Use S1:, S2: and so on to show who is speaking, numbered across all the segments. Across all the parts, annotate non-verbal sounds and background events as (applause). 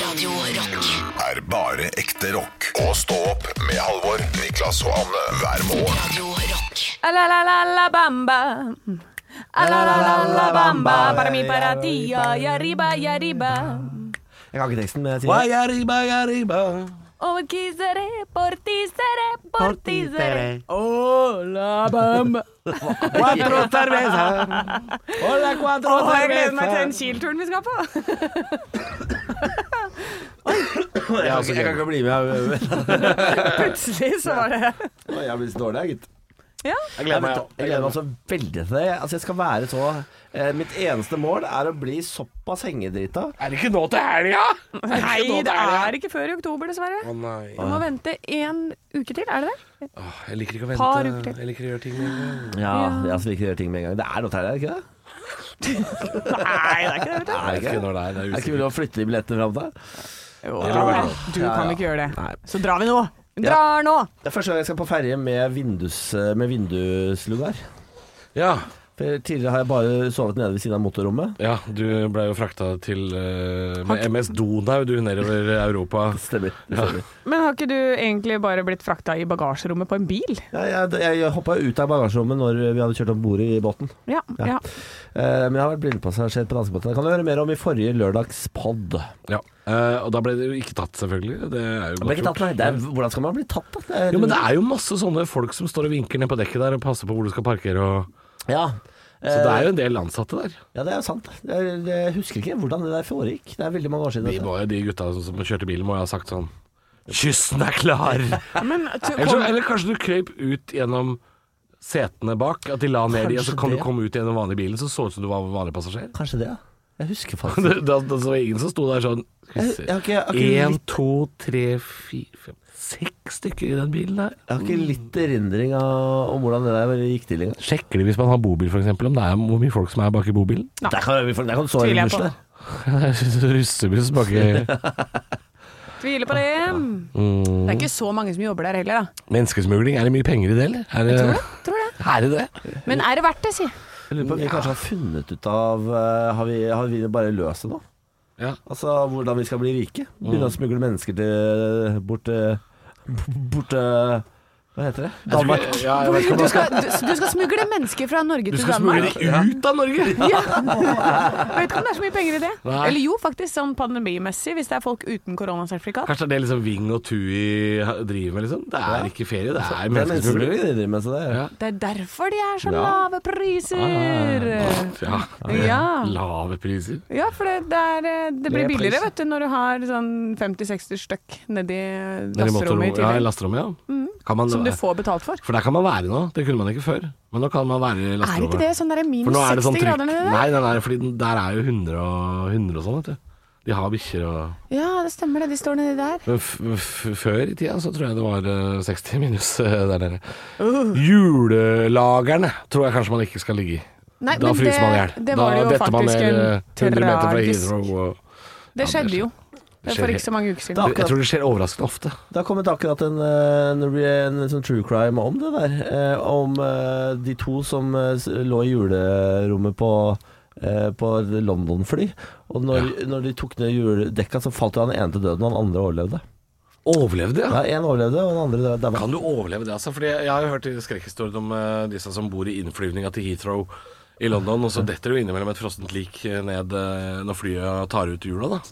S1: Radio Rock.
S2: er bare ekte rock. Og stå opp med Halvor, Niklas og Anne hver morgen.
S1: Radio Rock.
S3: Alalalabamba. Alalalabamba. Para mi para ti. Ya ya riba, ya riba.
S4: Jeg kan ikke teksten, men jeg sier det.
S5: Guayariba-yariba.
S3: Oh, quisere, por ti seré, por ti seré.
S5: Hola,
S3: (laughs)
S5: bamba. Cuatro
S4: (laughs)
S5: cerveza. Hola, cuatro
S3: Å, jeg gleder meg til
S5: cerveza.
S3: den Kiel-turen vi (laughs) skal på.
S4: Jeg
S5: Jeg kan ikke bli med. Jeg,
S3: Plutselig så var det
S4: jeg blir så dårlig, jeg, gitt.
S3: Ja.
S5: jeg
S4: Jeg,
S5: gleder meg.
S4: vet- jeg gleder meg så veldig til det. Altså, jeg skal være så eh, Mitt eneste mål er å bli såpass hengedrita.
S5: Er det ikke nå til helga?
S3: Nei, det er ikke før i oktober, dessverre.
S5: Å nei.
S3: Du må vente en uke til, er det det?
S5: Åh, Jeg liker ikke å
S3: Par uker
S5: vente.
S3: til.
S5: Jeg liker å gjøre ting med en gang.
S4: Ja, jeg skal ikke gjøre ting med en gang. Det er noe til det, er det ikke det?
S3: (laughs) Nei, det er ikke det. vet du.
S4: Er det ikke?
S5: når det er. Det
S4: Er det ikke mulig å flytte de billettene fram der?
S3: Jo,
S4: Ja,
S3: Du kan ikke gjøre det.
S4: Nei.
S3: Så drar vi nå. Vi drar nå.
S4: Det er første gang jeg skal på ferie med, vindus, eh, med vinduslugar.
S5: Ja.
S4: For tidligere har jeg bare sovet nede ved siden av motorrommet.
S5: ja, du ble jo frakta til eh, med MS Donau, du, nedover Europa.
S4: Stemmer. det stemmer.
S3: Men har ikke du egentlig bare blitt frakta i bagasjerommet på en bil?
S4: Ja, jeg jeg hoppa ut av bagasjerommet når vi hadde kjørt om bordet i båten.
S3: Ja. ja.
S4: Eh, men jeg har vært blindpassasjer på danskebåten. Det kan du høre mer om i forrige lørdags pod.
S5: Ja. Eh, og da ble det jo ikke tatt, selvfølgelig. Det er jo
S4: Jeg ble ikke
S5: godt
S4: tatt, nei. Det er, hvordan skal man bli tatt, da? Det er,
S5: Jo, men det er jo masse sånne folk som står og vinker ned på dekket der og passer på hvor du skal parkere og
S4: ja. Eh,
S5: Så det er jo en del ansatte der.
S4: ja, det er jo sant. Det er, det, jeg husker ikke hvordan det der foregikk. Det er veldig mange år siden.
S5: De,
S4: dette.
S5: må jo, de gutta som- som kjørte bilen må jo ha sagt sånn Kysten er klar!
S3: Men uh, så
S5: eller, så,
S3: kom-
S5: eller kanskje du krøyp ut gjennom setene bak, at de la ned de, og så
S4: Kanskje
S5: kan du
S4: det.
S5: komme ut gjennom vanlig bilen, så så ut som du var vanlig passasjer. (laughs)
S4: Kanskje det, ja. Jeg husker (laughs) faktisk
S5: Det, det, det var ingen som sto der sånn skal vi
S4: Jeg-
S5: se.
S4: jeg har ikke- jeg har ikke
S5: En,
S4: litt-
S5: to, tre, fire, fem Seks stykker i den bilen der.
S4: Jeg har ikke litt erindring av om hvordan det der gikk til engang.
S5: Sjekker de hvis man har bobil, f.eks., om det er hvor mye folk som er bak i bobilen? (laughs)
S4: Der kan vi- der kan du så
S3: Tviler
S4: en
S3: jeg
S4: buss
S3: på.
S4: der.
S5: Russebuss baki (laughs)
S3: Tviler på det. Det er ikke så mange som jobber der heller, da.
S5: Mm. Menneskesmugling, er det mye penger i det, eller? Er det,
S3: Tror det. Tror det.
S5: Er det det?
S3: Men er det verdt det, si?
S4: Jeg lurer på om vi kanskje har funnet ut av eh, Har vi, har vi bare løst det nå?
S5: Ja.
S4: Altså hvordan vi skal bli rike?
S5: Mm.
S4: Begynne å smugle mennesker til bort til Bort til Hva heter det? Danmark.
S5: Ja, jeg vet ikke om
S3: Du skal, du, du skal smugle mennesker fra Norge
S5: Du
S3: til
S5: skal smugle
S3: Danmark?
S5: de ut av Norge?
S3: Ja. Jeg vet ikke om det er så mye penger i det.
S5: Nei.
S3: Eller jo, faktisk sånn pandemimessig, hvis det er folk uten koronasertifikat.
S5: Kanskje det er det liksom Ving og Tui driver med, liksom? Det er ikke ferie, det er
S4: Det er menneskesmugling
S5: menneskesmugling.
S4: de driver med, så det er
S5: Ja.
S3: Det er derfor de er så
S4: Ja.
S3: lave priser.
S5: Ja.
S3: Eh, Ja.
S5: Lave priser.
S3: Ja, for det, det, er, eh, det
S4: Det
S3: blir
S4: er
S3: billigere
S4: prisen.
S3: vet du, når du har sånn 50-60 stykk nedi
S5: Nede i
S3: lasterommet i
S5: motorrommet- Ja, i
S3: tillegg. Mm.
S5: lasterommet, ja. Kan man,
S3: Som du får betalt for.
S5: For der kan man være nå. Det kunne man ikke før. Men nå kan man være i
S3: Er
S5: lasterommet.
S3: ikke det sånn der
S5: For
S3: minus
S5: nå er det
S3: 60
S5: sånn trykk.
S3: grader nedi der?
S5: Nei, nei, nei, fordi den- der er jo 100 og, 100 og sånn, vet du. De har bikkjer og
S3: Ja, det stemmer det. De står nedi der.
S5: Men f f før i tida så tror jeg det var eh, 60 minus eh, der nede.
S3: Uh.
S5: Julelagerne tror jeg kanskje man ikke skal ligge i.
S3: Nei,
S5: Da
S3: men
S5: fryser man i hjel.
S3: Det var
S5: Da
S3: jo
S5: detter man
S3: faktisk
S5: ned eh,
S3: en
S5: 100 meter fra
S3: tragisk
S5: Heathrow. Og...
S3: Det skjedde jo. Det er
S5: skjer
S3: for ikke så mange uker
S4: Da-
S3: siden.
S5: Jeg jeg tror det skjer overraskende ofte.
S4: Det har kommet akkurat en, eh, en, en, sånn true crime om det der. Eh, om eh, de to som eh, s- lå i julerommet på, eh, på et London-fly. Og når, når de tok ned juledekka, så falt jo han ene til døden, og han andre overlevde.
S5: Overlevde,
S4: Ja, én overlevde, og den andre daua.
S5: Kan du overleve det, altså? Fordi jeg har jo hørt skrekkhistorier om eh, disse som bor i innflyvninga til Heathrow i London, og så detter det jo innimellom et frossent lik eh, ned eh, når flyet tar ut hjula, da.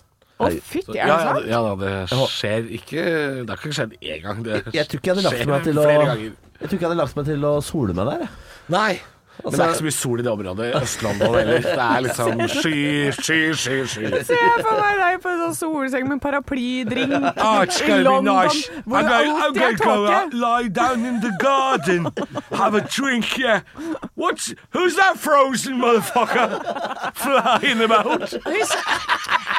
S3: Å, fytti, er
S5: ja,
S3: det
S5: ja,
S3: sant?
S5: ja da, det skjer ikke Det har ikke skjedd én gang. Det
S4: Jeg tror ikke jeg hadde lagt
S5: skjer
S4: meg til å
S5: flere
S4: Jeg
S5: ganger.
S4: tror ikke jeg hadde lagt meg til å sole meg der. jeg.
S5: Nei. Men det er
S4: Altså-
S5: ikke så mye sol i det området. i Østlandet heller. Det er liksom (laughs) sky, sky, sky. sky.
S3: Se for meg deg på en sånn solseng med en paraplydrink
S5: (laughs) Ah,
S3: i London, hvor det alltid er tåke.
S5: lie down in the garden, have a drink, yeah. What's, who's that frozen motherfucker (laughs) flying about?
S3: This-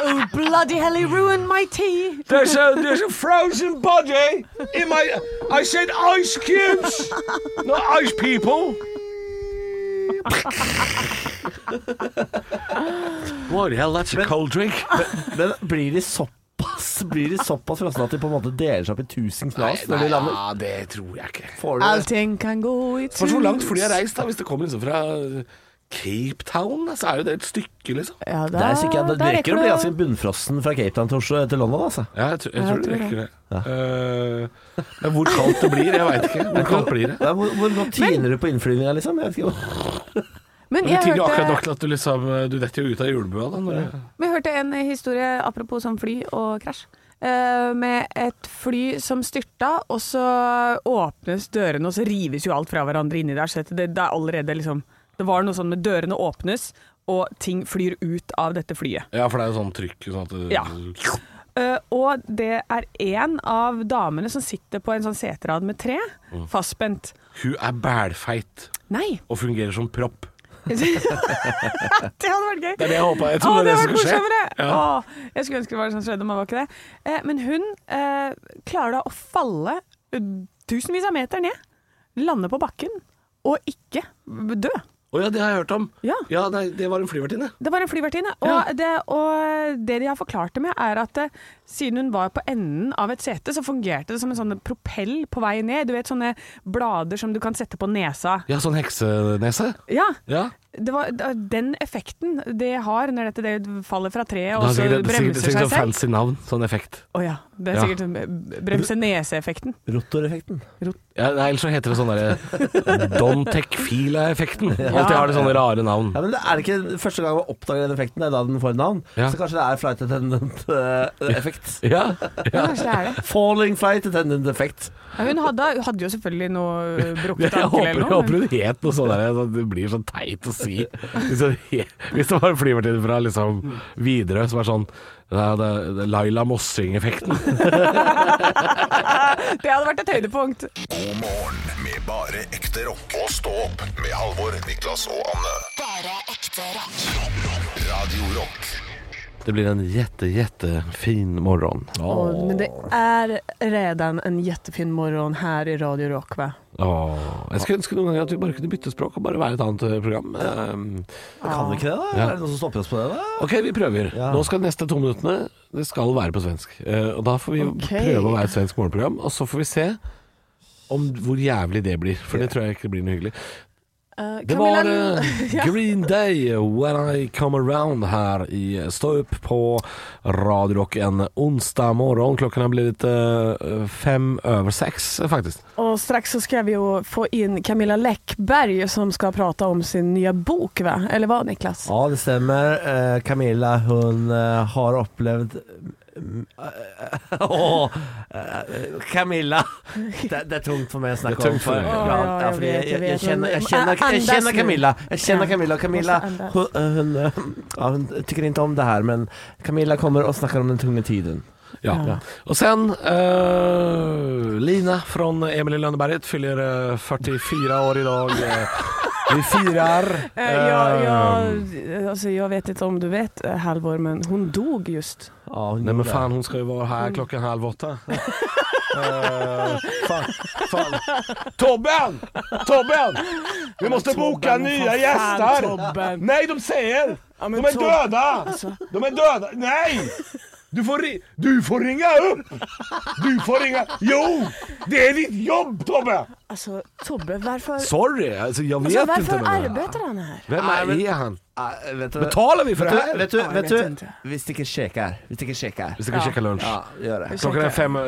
S3: Oh, bloody hell, he ruined my tea.
S5: There's a, there's a frozen body in my... I said ice cubes, not ice people. What the hell, that's a cold drink.
S4: Men blir de såpass Blir de såpass frosne at de på en måte deler seg opp i tusen knas når de lander?
S5: ja, det tror jeg ikke.
S4: Får du det?
S3: Allting kan gå i
S5: For så
S3: tur.
S5: langt flyet har reist, da, hvis det kommer liksom fra Cape Town? Altså, er jo det et stykke, liksom?
S3: Ja,
S4: Det er sikkert, det
S3: da
S4: rekker å bli ganske bunnfrossen fra Cape Town til Oslo til London, altså.
S5: Ja, jeg, tror- jeg
S3: Ja,
S5: tror
S3: jeg
S5: det
S3: tror
S5: rekker det. Eh, men hvor kaldt det blir, jeg veit ikke. Hvor kaldt blir det?
S4: Det er, hvor, hvor godt tiner du på innflyvninga, liksom? Jeg vet ikke.
S5: Men
S3: Men
S5: Det
S3: jeg
S5: tyder jo akkurat nok
S3: hørte,
S5: til at du liksom Du detter jo ut av julebua da. Når du,
S3: vi hørte en historie apropos sånn fly og krasj. eh, med et fly som styrta, og så åpnes dørene, og så rives jo alt fra hverandre inni der. Så det, det er allerede liksom Det var noe sånn med dørene åpnes, og ting flyr ut av dette flyet.
S5: ja, for det er jo sånn trykk sånn at det,
S3: Ja. Eh, og det er én av damene som sitter på en sånn seterad med tre,
S5: Mm.
S3: fastspent.
S5: Hun er bælfeit
S3: Nei! (laughs)
S5: og fungerer som propp.
S3: det hadde vært gøy.
S5: Det er det jeg håpa. Jeg
S3: Å,
S5: trodde
S3: det
S5: det
S3: var
S5: skulle skje.
S3: morsommere!
S5: Ja.
S3: Å, jeg skulle ønske det var det som skjedde, men det var ikke det. Eh, men hun eh, klarer da å falle eh, tusenvis av meter ned, lande på bakken og ikke dø.
S5: Å ja, det har jeg hørt om.
S3: Ja.
S5: Ja, nei, det var en flyvertinne.
S3: Det var en flyvertinne, og, det, og det de har forklart det med, er at eh, siden hun var på enden av et sete, så fungerte det som en sånn propell på vei ned. Du vet sånne blader som du kan sette på nesa.
S5: Ja, sånn heksenese.
S3: Ja,
S5: Ja.
S3: det var da- den effekten det har når dette det faller fra treet og
S5: Det er
S3: så
S5: sikkert, det er sikkert, det
S3: bremser
S5: er sikkert
S3: seg
S5: sånn
S3: selv.
S5: fancy navn, sånn effekt.
S3: Å ja. Det er
S5: Ja.
S3: sikkert sånn bremse nese-effekten.
S4: Rotoreffekten.
S5: Ja, nei, ellers så heter det sånn derre Dontech-fila-effekten. Alltid har det sånne rare navn.
S4: Ja, men det er det ikke første gang man oppdager den effekten, det er da den får et navn.
S5: Ja.
S4: Så kanskje det er flight attendant-effekt.
S5: Ja. (laughs)
S3: Ja, kanskje det er det.
S4: Falling flight attendant-effekt.
S3: Ja, hun hadde, hun hadde jo selvfølgelig noe brukket
S5: Jeg
S3: ankel
S5: håper,
S3: eller
S5: jeg
S3: noe.
S5: håper
S3: men-
S5: hun het noe sånt. Der, så det blir så teit å si. Hvis, det- hvis det var en flyvertinne fra liksom, Widerøe som er sånn ja, det, det, Laila Mossing-effekten.
S3: Det hadde vært et høydepunkt.
S2: God morgen med bare ekte rock. Og stå opp med Halvor, Niklas og Anne.
S1: Bare ekte rock.
S2: Radio Rock
S5: Det blir en jette, jette fin morgen.
S3: men det er redan en jättefin morgen her i Radio Rock, va?
S5: Åh. Jeg skulle ønske noen ganger at vi bare kunne bytte språk og bare være et annet eh, program. Ehm,
S4: Kan vi ikke det, da? Er det noen som stopper oss på det? da?
S5: Ok, vi prøver.
S4: Ja.
S5: Nå skal de neste to minuttene Det skal være på svensk. Eh, Og da får vi
S3: Ok.
S5: prøve å være et svensk morgenprogram, og så får vi se om hvor jævlig det blir. For det tror jeg ikke blir noe hyggelig. Det var
S3: (laughs)
S5: eh, Green Day, When I Come Around her i Stå opp på Radio Rock en onsdag morgen. Klokken er blitt eh, fem over seks, eh, faktisk.
S3: Og straks så skal vi jo få inn Camilla Läckberg som skal prate om sin nye bok, va? Eller hva, Niklas?
S4: Ja, det stemmer. Eh, Camilla, hun eh, har opplevd Mm, (laughs) eh, Åh! eh, Camilla! Det, det er tungt for meg å
S5: Det er
S4: snakke om.
S5: tungt for deg.
S4: ja,
S3: Å,
S4: ja,
S3: ja, jeg
S4: fordi
S3: vet,
S4: jeg,
S3: jeg
S4: jeg,
S3: vet,
S4: kjenner, jeg,
S3: men-
S4: kjenner, jeg
S3: Andas
S4: kjenner
S3: nu.
S4: Camilla. Jeg
S3: Ja,
S4: kjenner Camilla. Camilla
S3: måste andas.
S4: hun, eh, hun, eh, ja, hun tycker inte om det her, men Camilla kommer og snakker om den tunge tiden.
S5: Ja. Og sen eh, Lina fra Emil i Lønneberget fyller eh, 44 år i dag. Eh, Vi firar.
S3: jag,
S5: Eh,
S3: altså, vet ikke om du vet, eh, Halvor, men hun dog just.
S4: Ja, hun
S5: Nej men
S4: gjorde det.
S5: fan hon ska ju vara här klockan halv åtta. Eh, fan, fan. Tobben! Tobben! Vi måste boka nya gäster! Nej de säger! De är döda! De är döda! Nej! Du får, ri- du får ringa upp! Du får ringa... Jo! Det är ditt jobb Tobbe!
S3: Alltså, Altså, Tobbe, altså, varför,
S5: Sorry, alltså jag vet
S3: alltså, varför
S5: inte. Men...
S3: arbetar han här?
S5: Vem är, är han?
S4: Eh, vet du,
S5: Betalar vi för det
S4: vet du,
S5: här?
S4: vet du,
S3: Ja, jeg
S4: vet
S3: vet
S4: du,
S3: ikke.
S4: vi stikker kjekk her. Vi stikker kjekk her.
S5: Vi ska käka lunch.
S4: Ja, gjør det.
S5: Klockan är fem, eh,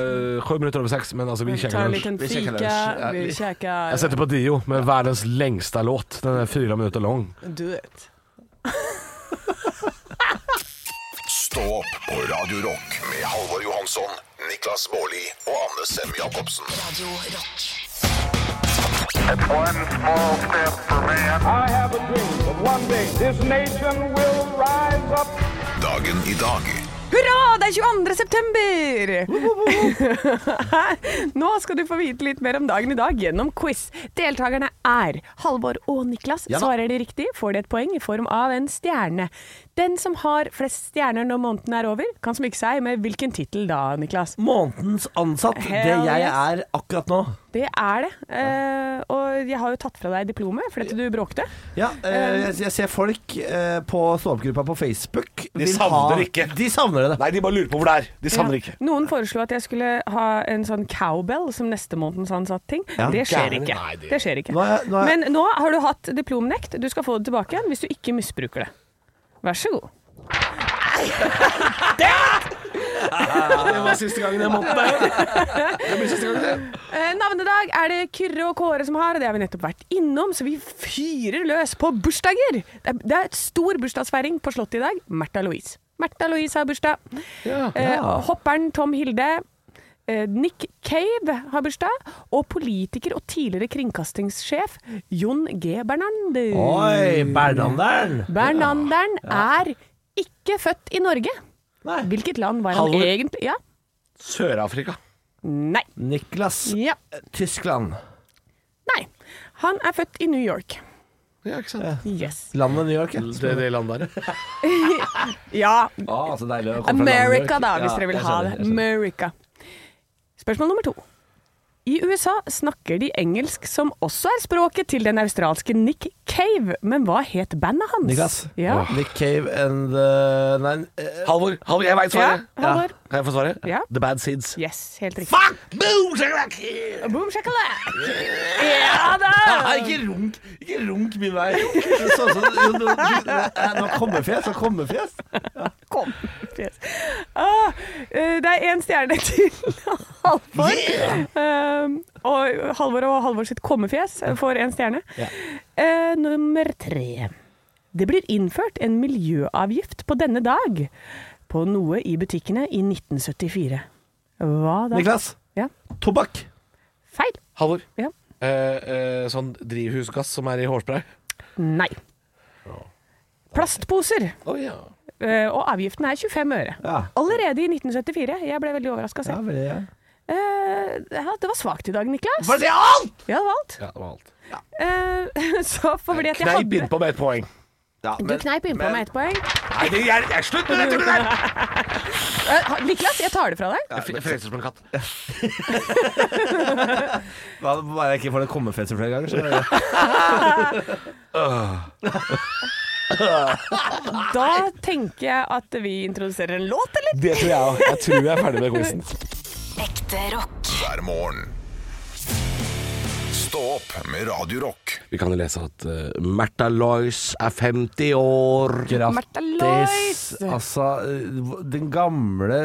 S5: sju minuter över sex men alltså vi
S3: Vi tar
S5: käkar
S3: en
S5: lunch.
S3: liten
S4: Vi käkar
S3: fika,
S4: lunch. Ja,
S3: vi
S4: vi-
S3: käkar
S5: Jag sätter på Dio med världens längsta låt. Den är fyra minuter lång.
S4: Altså-
S3: duett.
S2: Stå opp på Radio Rock med Halvor Johansson, Niklas Baarli og Anne Sem Jacobsen.
S1: Radio Rock.
S6: It's one small step for man.
S7: I have a dream that one day this nation will rise up.
S2: Dagen i dag
S3: Hurra, det er 22. september! (laughs) Nå skal du få vite litt mer om dagen i dag gjennom quiz. Deltakerne er Halvor og Niklas.
S4: Ja da.
S3: Svarer de riktig, får de et poeng i form av en stjerne. Den som har flest stjerner når måneden er over, kan smykke seg med hvilken tittel da, Niklas?
S4: Månedens ansatt, det
S3: Hell
S4: jeg
S3: yes.
S4: er akkurat nå.
S3: Det er det. Eh, og jeg har jo tatt fra deg diplomet fordi at du bråkte.
S4: Ja, eh, jeg, jeg ser folk eh, på stå-opp-gruppa på Facebook vil
S5: savner ikke.
S4: De savner det.
S5: Nei, de bare lurer på hvor det er. De savner ikke.
S3: Noen foreslo at jeg skulle ha en sånn cowbell som neste månedens ansatt-ting.
S4: Ja.
S3: det skjer
S5: Gæren.
S3: ikke.
S5: Nei, det-
S3: det skjer ikke.
S4: Nå er jeg- nå er jeg-
S3: Men nå har du hatt diplomnekt. Du skal få det tilbake igjen hvis du ikke misbruker det. Vær så god.
S5: Det var siste gangen jeg måtte det. Det blir siste gangen det.
S3: Eh, navnedag er det Kyrre og Kåre som har, og det har vi nettopp vært innom, så vi fyrer løs på bursdager! Det er, det er et stor bursdagsfeiring på Slottet i dag. Märtha Louise. Märtha Louise har bursdag. Eh, hopperen Tom Hilde. eh, Nick Cave har bursdag, og politiker og tidligere kringkastingssjef Jon G. Bernander.
S4: Oi, Bernanderen!
S3: Bernanderen er ikke født i Norge.
S4: Nei.
S3: Hvilket land var han
S4: Halvor.
S3: egentlig Ja.
S5: Sør-Afrika.
S3: Nei.
S4: Niklas
S3: Ja.
S4: Tyskland.
S3: Nei. Han er født i New York.
S5: Ja, ikke sant.
S3: Yes.
S4: Landet New York. Ja,
S5: Det, det landet der.
S3: Ja,
S4: ah, så deilig å komme fra landet New York.
S3: America da, hvis
S4: Ja,
S3: dere vil
S4: jeg
S3: ha
S4: skjønner,
S3: det.
S4: jeg skjønner.
S3: America. Spørsmål nummer to. I USA snakker de engelsk, som også er språket til den australske Nick Cave. Men hva het bandet hans?
S4: Niklas.
S3: Ja,
S4: Nick Cave and the Nei, eh,
S5: Halvor, Halvor, jeg veit
S3: ja
S5: svaret.
S3: Halvor.
S5: Kan jeg få svaret?
S3: Ja.
S5: The Bad Seeds.
S3: Yes, helt riktig.
S5: Fuck! Boom! shakalaka!
S3: Boom shakalak! Ja da!
S5: Nei, ikke runk. Ikke runk min vei.
S4: sånn som jo, du, du, eh, Nå kommer fjes og kommer fjes.
S3: Kom. Yes. Ah, eh, det er én stjerne til (laughs) Halvor. Um, og Halvor og Halvor sitt kommefjes får én stjerne. Eh, nummer tre. Det blir innført en miljøavgift på denne dag på noe i butikkene i 1974. Hva da?
S4: Niklas.
S3: Ja.
S4: Tobakk.
S3: Feil.
S5: Halvor.
S3: Ja.
S5: Eh, eh, sånn drivhusgass som er i hårspray.
S3: Nei. Plastposer.
S5: Å ja.
S3: eh, Og avgiften er 25 øre.
S4: Ja.
S3: Allerede i 1974. Jeg ble veldig overraska selv.
S4: Ja, vel, ja.
S3: Eh, ja, det var svakt i dag, Niklas.
S4: Var det alt?
S3: Ja, det var alt.
S5: ja. Det var alt.
S3: Eh, (laughs) så fordi at jeg
S5: Kneip
S3: hadde
S5: innpå med ett poeng.
S4: Ja,
S3: Du kneip innpå med ett poeng.
S5: Nei, det er, jeg slutt med dette! greier.
S3: Eh, ha- Niklas, jeg tar det fra deg.
S5: Jeg f- frelses som en katt.
S4: (laughs) Hva, Bare jeg ikke får det kommefjeset flere ganger, så er det-
S3: Da tenker jeg at vi introduserer en låt, eller?
S5: (laughs) Det tror jeg òg. Jeg tror jeg er
S4: (laughs)
S5: ferdig med quizen.
S1: Ekte rock.
S2: hver morgen. Stå opp med Radio Rock.
S5: Vi kan jo lese at uh, Märtha Lois er 50 år.
S3: Märtha
S4: Grattis.
S3: Lois.
S4: Altså, eh, den gamle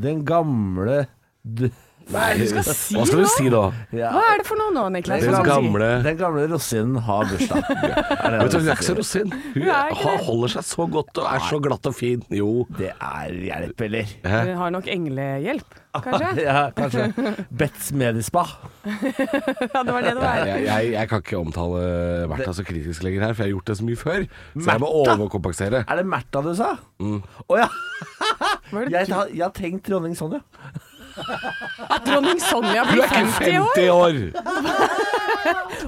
S4: Den gamle d-
S3: Hva er det du skal si
S5: Hva skal
S3: nå?
S5: du si da?
S4: ja.
S3: Hva er det for noe nå, Niklas?
S5: Den
S3: Hva skal du si?
S5: gamle
S4: Den gamle rosinen har
S5: (laughs)
S4: bursdag. Er det
S5: Vet du,
S4: jeg
S5: Hun er
S4: vil
S5: ikke
S4: si.
S5: så rosin. Hun
S3: Hun er ikke
S5: ha-
S3: det.
S5: holder seg så godt og er så glatt og fin. Jo.
S4: Det er hjelp, eller?
S3: Hun har nok englehjelp, kanskje?
S4: Ja, kanskje. Betz Medispa.
S3: Ja, det var det det var.
S5: Jeg, jeg, jeg kan ikke omtale Märtha så kritisk lenger her, for jeg har gjort det så mye før. Så jeg må overkompensere.
S4: Er det Märtha du sa? Å
S5: Mm.
S4: ja.
S3: Var det
S4: Jeg, har- jeg har tenkt dronning Sonja.
S3: Dronning Sonja blir 50 år,
S5: 50 år!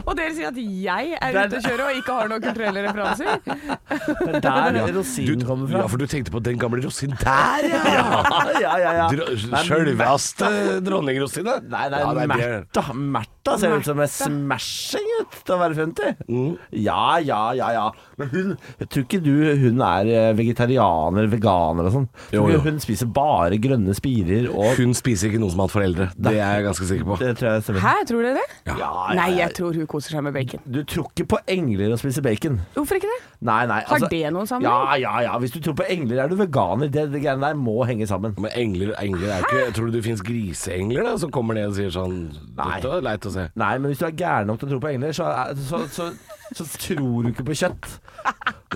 S3: og dere sier at jeg er
S4: er
S3: ute å kjøre og ikke har noen kulturelle referanser?
S4: Det er der rosinen kommer fra.
S5: ja, for du tenkte på den gamle rosin der, ja!
S4: (laughs) ja, ja, ja.
S5: Dro-
S4: Nei,
S5: Sjølveste dronningrosina.
S4: Nei, det
S5: Ja,
S4: er
S5: det er
S4: Märtha. Märtha ser ut som en smashing ut til å være 50.
S5: Mm.
S4: Ja, ja, ja, ja. Men hun Jeg tror ikke du hun er eh, vegetarianer, veganer og sånn. Jeg
S5: Jo,
S4: tror
S5: jo.
S4: ikke Hun spiser bare grønne spirer og
S5: Hun spiser ikke noe som alt for eldre. Det er jeg ganske sikker på.
S4: Det tror jeg stemmer.
S3: Hæ, tror dere det?
S4: Ja,
S3: Nei,
S4: ja,
S3: jeg tror hun koser seg med bacon.
S4: Du tror ikke på engler og spiser bacon.
S3: Hvorfor ikke det?
S4: Nei, nei.
S3: Har det noen sammenheng?
S4: Altså, Ja, ja, ja. Hvis du tror på engler, er du veganer. Det, det greiene der må henge sammen.
S5: Men engler, engler er ikke Tror du det finnes griseengler da, som kommer ned og sier sånn
S4: Nei.
S5: Dette var leit å se.
S4: Nei, men hvis du er gæren nok til å tro på engler, så, er- så, så, så tror du ikke på kjøtt.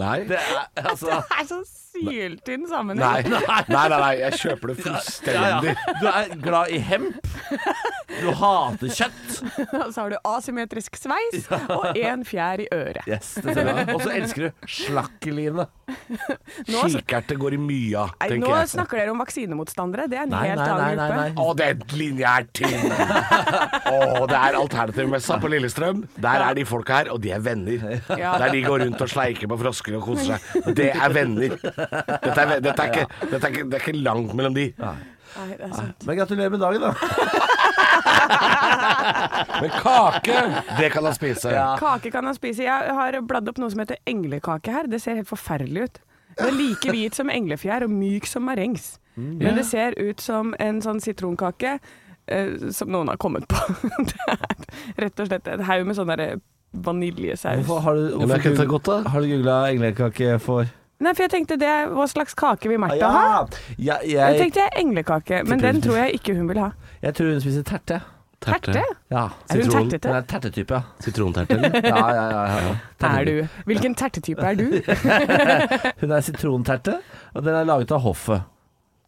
S5: Nei.
S4: Det er, (laughs) altså
S3: (laughs) Det er så syltynn sammenheng.
S5: Nei. Nei, nei, nei, jeg kjøper det fullstendig.
S4: Du er glad i hemp. Du hater kjøtt.
S3: (laughs) Og så har du asymmetrisk sveis og en fjær i øret.
S4: Yes, det ser jeg. Og så elsker du slakkeline.
S3: Nå-
S5: Kikerte går i mya,
S3: Nei, nå
S5: tenker jeg.
S3: snakker dere om vaksinemotstandere. Det er en helt annen gruppe.
S5: Å, den linja er tynn! Å, det er alternativmessa på Lillestrøm. Der er de folka her, og de er venner.
S3: Ja.
S5: Der de går rundt og sleiker på frosker og koser seg. Det er venner. Dette er, ve- dette er, ikke, dette er, ikke, det er ikke langt mellom de.
S3: Nei, det er sant.
S4: (laughs) Men gratulerer med dagen, da.
S5: Men kake, det kan han spise.
S3: Kake kan han spise. Jeg har bladd opp noe som heter englekake her. Det ser helt forferdelig ut. Den er like hvit som englefjær og myk som marengs. Men det ser ut som en sånn sitronkake eh, som noen har kommet på. (laughs) det er rett og slett en haug med sånn derre vaniljesaus.
S4: Hvorfor har du,
S5: men er
S4: hvorfor
S5: ikke dette
S4: googl-
S5: godt, da?
S4: Har du googla englekake for
S3: Nei, for jeg tenkte det er hva slags kake vil Märtha ha?
S4: Ah, Ja! Jeg,
S3: Jeg
S4: jeg,
S3: tenkte jeg englekake, men den tror jeg ikke hun vil ha.
S4: jeg tror hun spiser terte.
S3: Terte?
S4: Ja.
S3: Er hun
S4: Sitron.
S3: tertete?
S4: Hun er tertetype, ja.
S5: Sitronterte, eller?
S4: Ja, ja, ja, ja, ja.
S3: Er du? Hvilken tertetype er du?
S4: Hun er sitronterte, og den er laget av hoffet.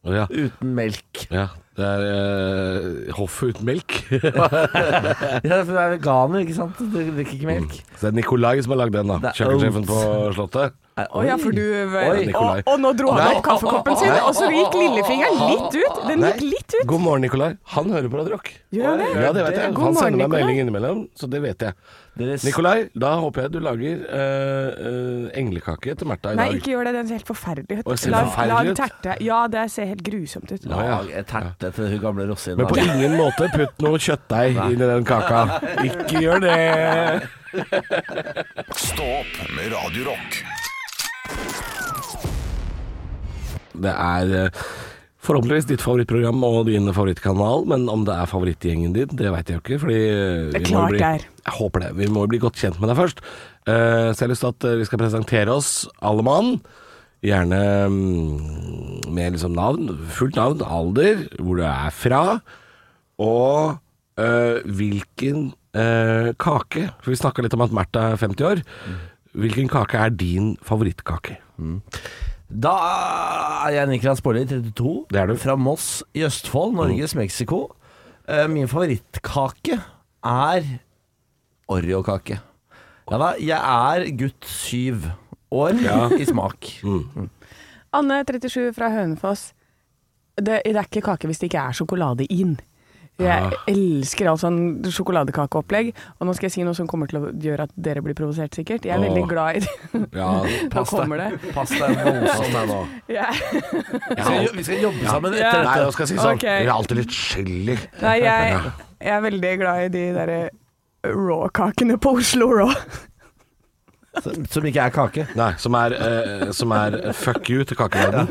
S5: Å, Ja.
S4: Uten melk.
S5: ja. Det er eh, hoffet uten melk.
S4: Ja, for hun er veganer, ikke sant? Du drikker ikke melk.
S5: Så det er Nikolai som har lagd den, da.
S4: Det er
S5: Kjøkkensjefen
S4: oats.
S5: på Slottet.
S4: Mm.
S3: Å ja, for du
S5: Oi,
S3: Oi,
S5: Nikolai.
S3: og, og nå dro han
S5: Nei.
S3: opp kaffekoppen sin, og så gikk lillefingeren litt ut. Den gikk litt ut.
S5: God morgen, Nikolai. Han hører på Radio Rock.
S3: Gjør han det?
S5: Ja, det vet jeg.
S3: God
S5: Han sender
S3: morgen,
S5: meg melding
S3: Nikolai.
S5: innimellom, så det vet jeg.
S4: Deres
S5: Nikolai, da håper jeg du lager eh, eh, englekake til Märtha i
S3: Nei,
S5: dag.
S3: ikke gjør det. Den ser helt forferdelig
S5: Å,
S3: ut.
S5: ser
S3: Lag,
S5: forferdelig
S3: lag
S5: ut?
S3: terte. Ja, det ser helt grusomt
S5: Å,
S3: ut.
S5: ja.
S4: lag er terte til hun gamle Rossin.
S5: Men på ingen måte putt noe kjøttdeig inn i den
S3: (laughs)
S5: kaka. Ikke gjør det.
S2: Stå opp med Radio Rock.
S5: Det er eh, forhåpentligvis ditt favorittprogram og din favorittkanal, men om det er favorittgjengen din, det veit jeg jo ikke. Fordi eh,
S3: Det er
S5: vi må jo
S3: klart
S5: bli,
S3: det er.
S5: Jeg håper det. Vi må jo bli godt kjent med deg først. Eh, så jeg har lyst til at eh, vi skal presentere oss, alle mann. Gjerne mm, med liksom navn, fullt navn, alder, hvor du er fra, og eh, hvilken eh, kake For vi snakka litt om at Märtha er 50 år. Hvilken kake er din favorittkake?
S4: Da er jeg Niklas Baarli, 32.
S5: Det er du. Mm.
S4: Fra Moss i Østfold, Norges Mexico. Eh, Min favorittkake er Oreo-kake. Ja da, jeg er gutt syv år i
S5: (laughs)
S4: smak.
S5: Mm.
S3: Anne 37 fra Hønefoss. Det, det er ikke kake hvis det ikke er sjokolade inn.
S5: Ah.
S3: Jeg elsker all sånn sjokoladekakeopplegg. Og nå skal jeg si noe som kommer til å gjøre at dere blir provosert, sikkert. Jeg er veldig
S5: Åh.
S3: glad i det. (laughs)
S5: Ja,
S3: Nå kommer det.
S4: Pasta er voldsomt.
S5: Sånn er det nå.
S3: Jeg,
S5: Jeg
S4: Vi
S5: har
S4: skal- Vi skal jobbe sammen
S3: Ja.
S4: etter
S5: Nei,
S4: dette.
S5: jeg skal si sånn.
S3: Ok.
S5: Vi er alltid litt chili.
S3: nei, jeg, jeg er veldig glad i de derre raw-kakene på Oslo
S4: (laughs)
S3: Raw.
S4: Som- Som ikke er kake.
S5: Nei, som er, eh, som er fuck you til kakeverden.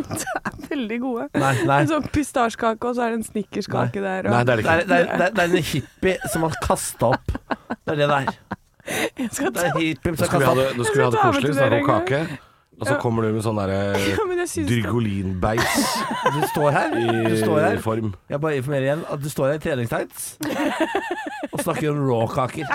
S3: Veldig gode.
S4: Nei, nei.
S3: En sånn pistasjekake, og så er det en snickerskake der. Og (laughs)
S5: Nei, det er det
S4: Det er,
S5: ikke.
S4: det, er, det, er, det er en hippie som har kasta opp. Det er det det er.
S3: jeg skal
S4: Det
S3: ta,
S4: er en hippie
S5: Nå
S4: som har kastet
S5: skulle vi ha
S4: opp.
S5: det, nå skulle vi ha det
S3: Jeg skal ta med
S5: koselig,
S3: til
S5: snakke
S3: dere
S5: om
S3: en
S5: kake. Og så kommer du med sånn derre
S3: ja, men jeg synes det.
S5: Dyrgolinbeis
S4: Du står her. Du står
S5: i
S4: her.
S5: form.
S4: Jeg bare informerer igjen at du står her i treningstights og snakker om råkaker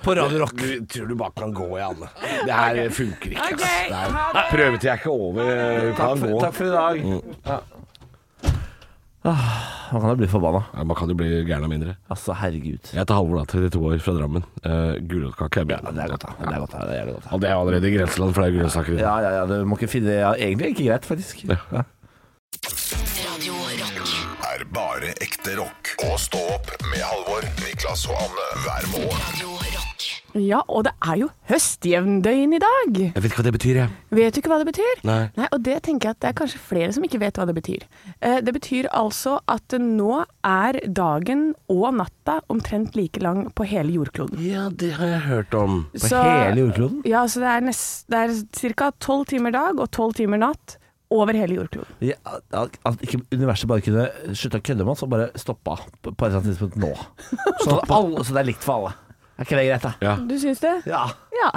S4: på Radio Rock.
S5: Du tror du bare kan gå i alle. Det her funker ikke.
S3: Ok,
S5: ass. Det er-
S3: ha det.
S5: Prøvetid er ikke over. Du
S4: Takk
S5: kan
S4: for,
S5: gå.
S4: takk for i dag. Ja. Ah, Man kan jo bli forbanna.
S5: Ja, Man kan jo bli gæren av mindre.
S4: Altså, herregud.
S5: Jeg heter Halvor, da. 32 år fra Drammen. Uh, Gulrotkake er min.
S4: Ja, det er godt, da. Det er godt, da. Det er godt, da.
S5: Og det er allerede i grenseland, for det er gulrotsaker i det.
S4: Ja, ja, ja. Du må ikke finne det ja, Egentlig ikke greit, faktisk. Ja.
S1: Radio Rock.
S2: Er bare ekte rock. Og stå opp med Halvor, Niklas og Anne hver morgen.
S1: Radio Rock.
S3: Ja, og det er jo høstjevndøgn i dag.
S5: Jeg vet ikke hva det betyr, jeg.
S3: Vet du ikke hva det betyr?
S5: Nei.
S3: Og det tenker jeg at det er kanskje flere som ikke vet hva det betyr. Eh, det betyr altså at nå er dagen og natta omtrent like lang på hele jordkloden.
S5: Ja, det har jeg hørt om.
S4: På hele jordkloden?
S3: Ja, så det er, nest, det er ca. tolv timer dag og tolv timer natt over hele jordkloden.
S4: Ja, at at ikke universet bare kunne slutta å kødde med oss og bare stoppa på et eller annet tidspunkt nå. Så, alle, så det er likt for alle. Er ikke det greit, da?
S5: Ja.
S3: Du syns det?
S4: Ja.
S3: Ja.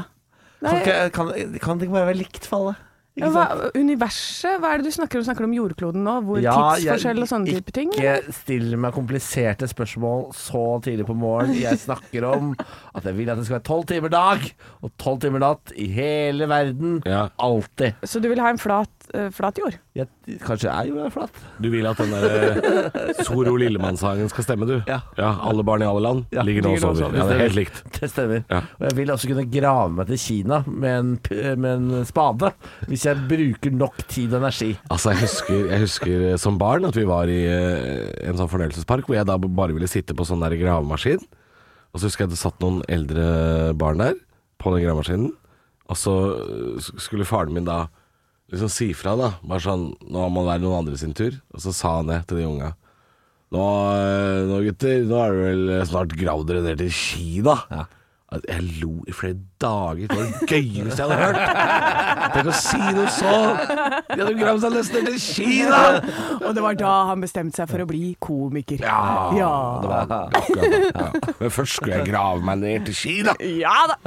S4: Kan,
S3: Nei,
S4: ikke- kan, kan det ikke bare være likt for alle? Ikke
S3: hva,
S4: sant?
S3: universet, hva er det du snakker om? Snakker du om jordkloden nå? Hvor
S4: jeg-
S3: tidsforskjell og sånne type ting? eller?
S4: Ikke still meg kompliserte spørsmål så tidlig på morgenen. Jeg snakker om at jeg vil at det skal være tolv timer dag og tolv timer natt i hele verden.
S5: Ja.
S4: Alltid.
S3: Så du vil ha en flat, eh, flat
S4: (laughs)
S3: jord?
S4: Jeg- Kanskje jeg gjorde det flatt.
S5: Du vil at den der eh, Soro Lillemann-sangen skal stemme, du?
S4: Ja.
S5: Alle barn i alle land
S4: Ja,
S5: ligger nå og
S4: ligger nå og
S5: sover.
S4: sover.
S5: Ja, det er helt likt.
S4: (laughs) Det stemmer.
S5: Ja.
S4: Og jeg vil også kunne grave meg til Kina med en, p- med en spade, hvis jeg bruker nok tid og energi.
S5: Altså, jeg husker, jeg husker eh, som barn at vi var i eh, en sånn fornøyelsespark hvor jeg da bare ville sitte på sånn der gravemaskin. Og så husker jeg det satt noen eldre barn der på den gravemaskinen. Og så eh, s- skulle faren min da liksom si fra, da. Bare sånn Nå må det være noen andre sin tur. Og så sa han det til de unga. Nå, eh, nå gutter, nå er det vel eh, snart grader ned til ski, da. Altså, Jeg lo i flere dager. Det var det gøyeste jeg hadde hørt. Tenk å si noe sånn! De hadde gravd seg nesten ned til ski, da!
S3: Og det var da han bestemte seg for å bli komiker.
S5: Ja,
S3: Ja.
S5: det var akkurat det. Ja. Men først skulle jeg grave meg ned til ski, da.
S3: Ja da!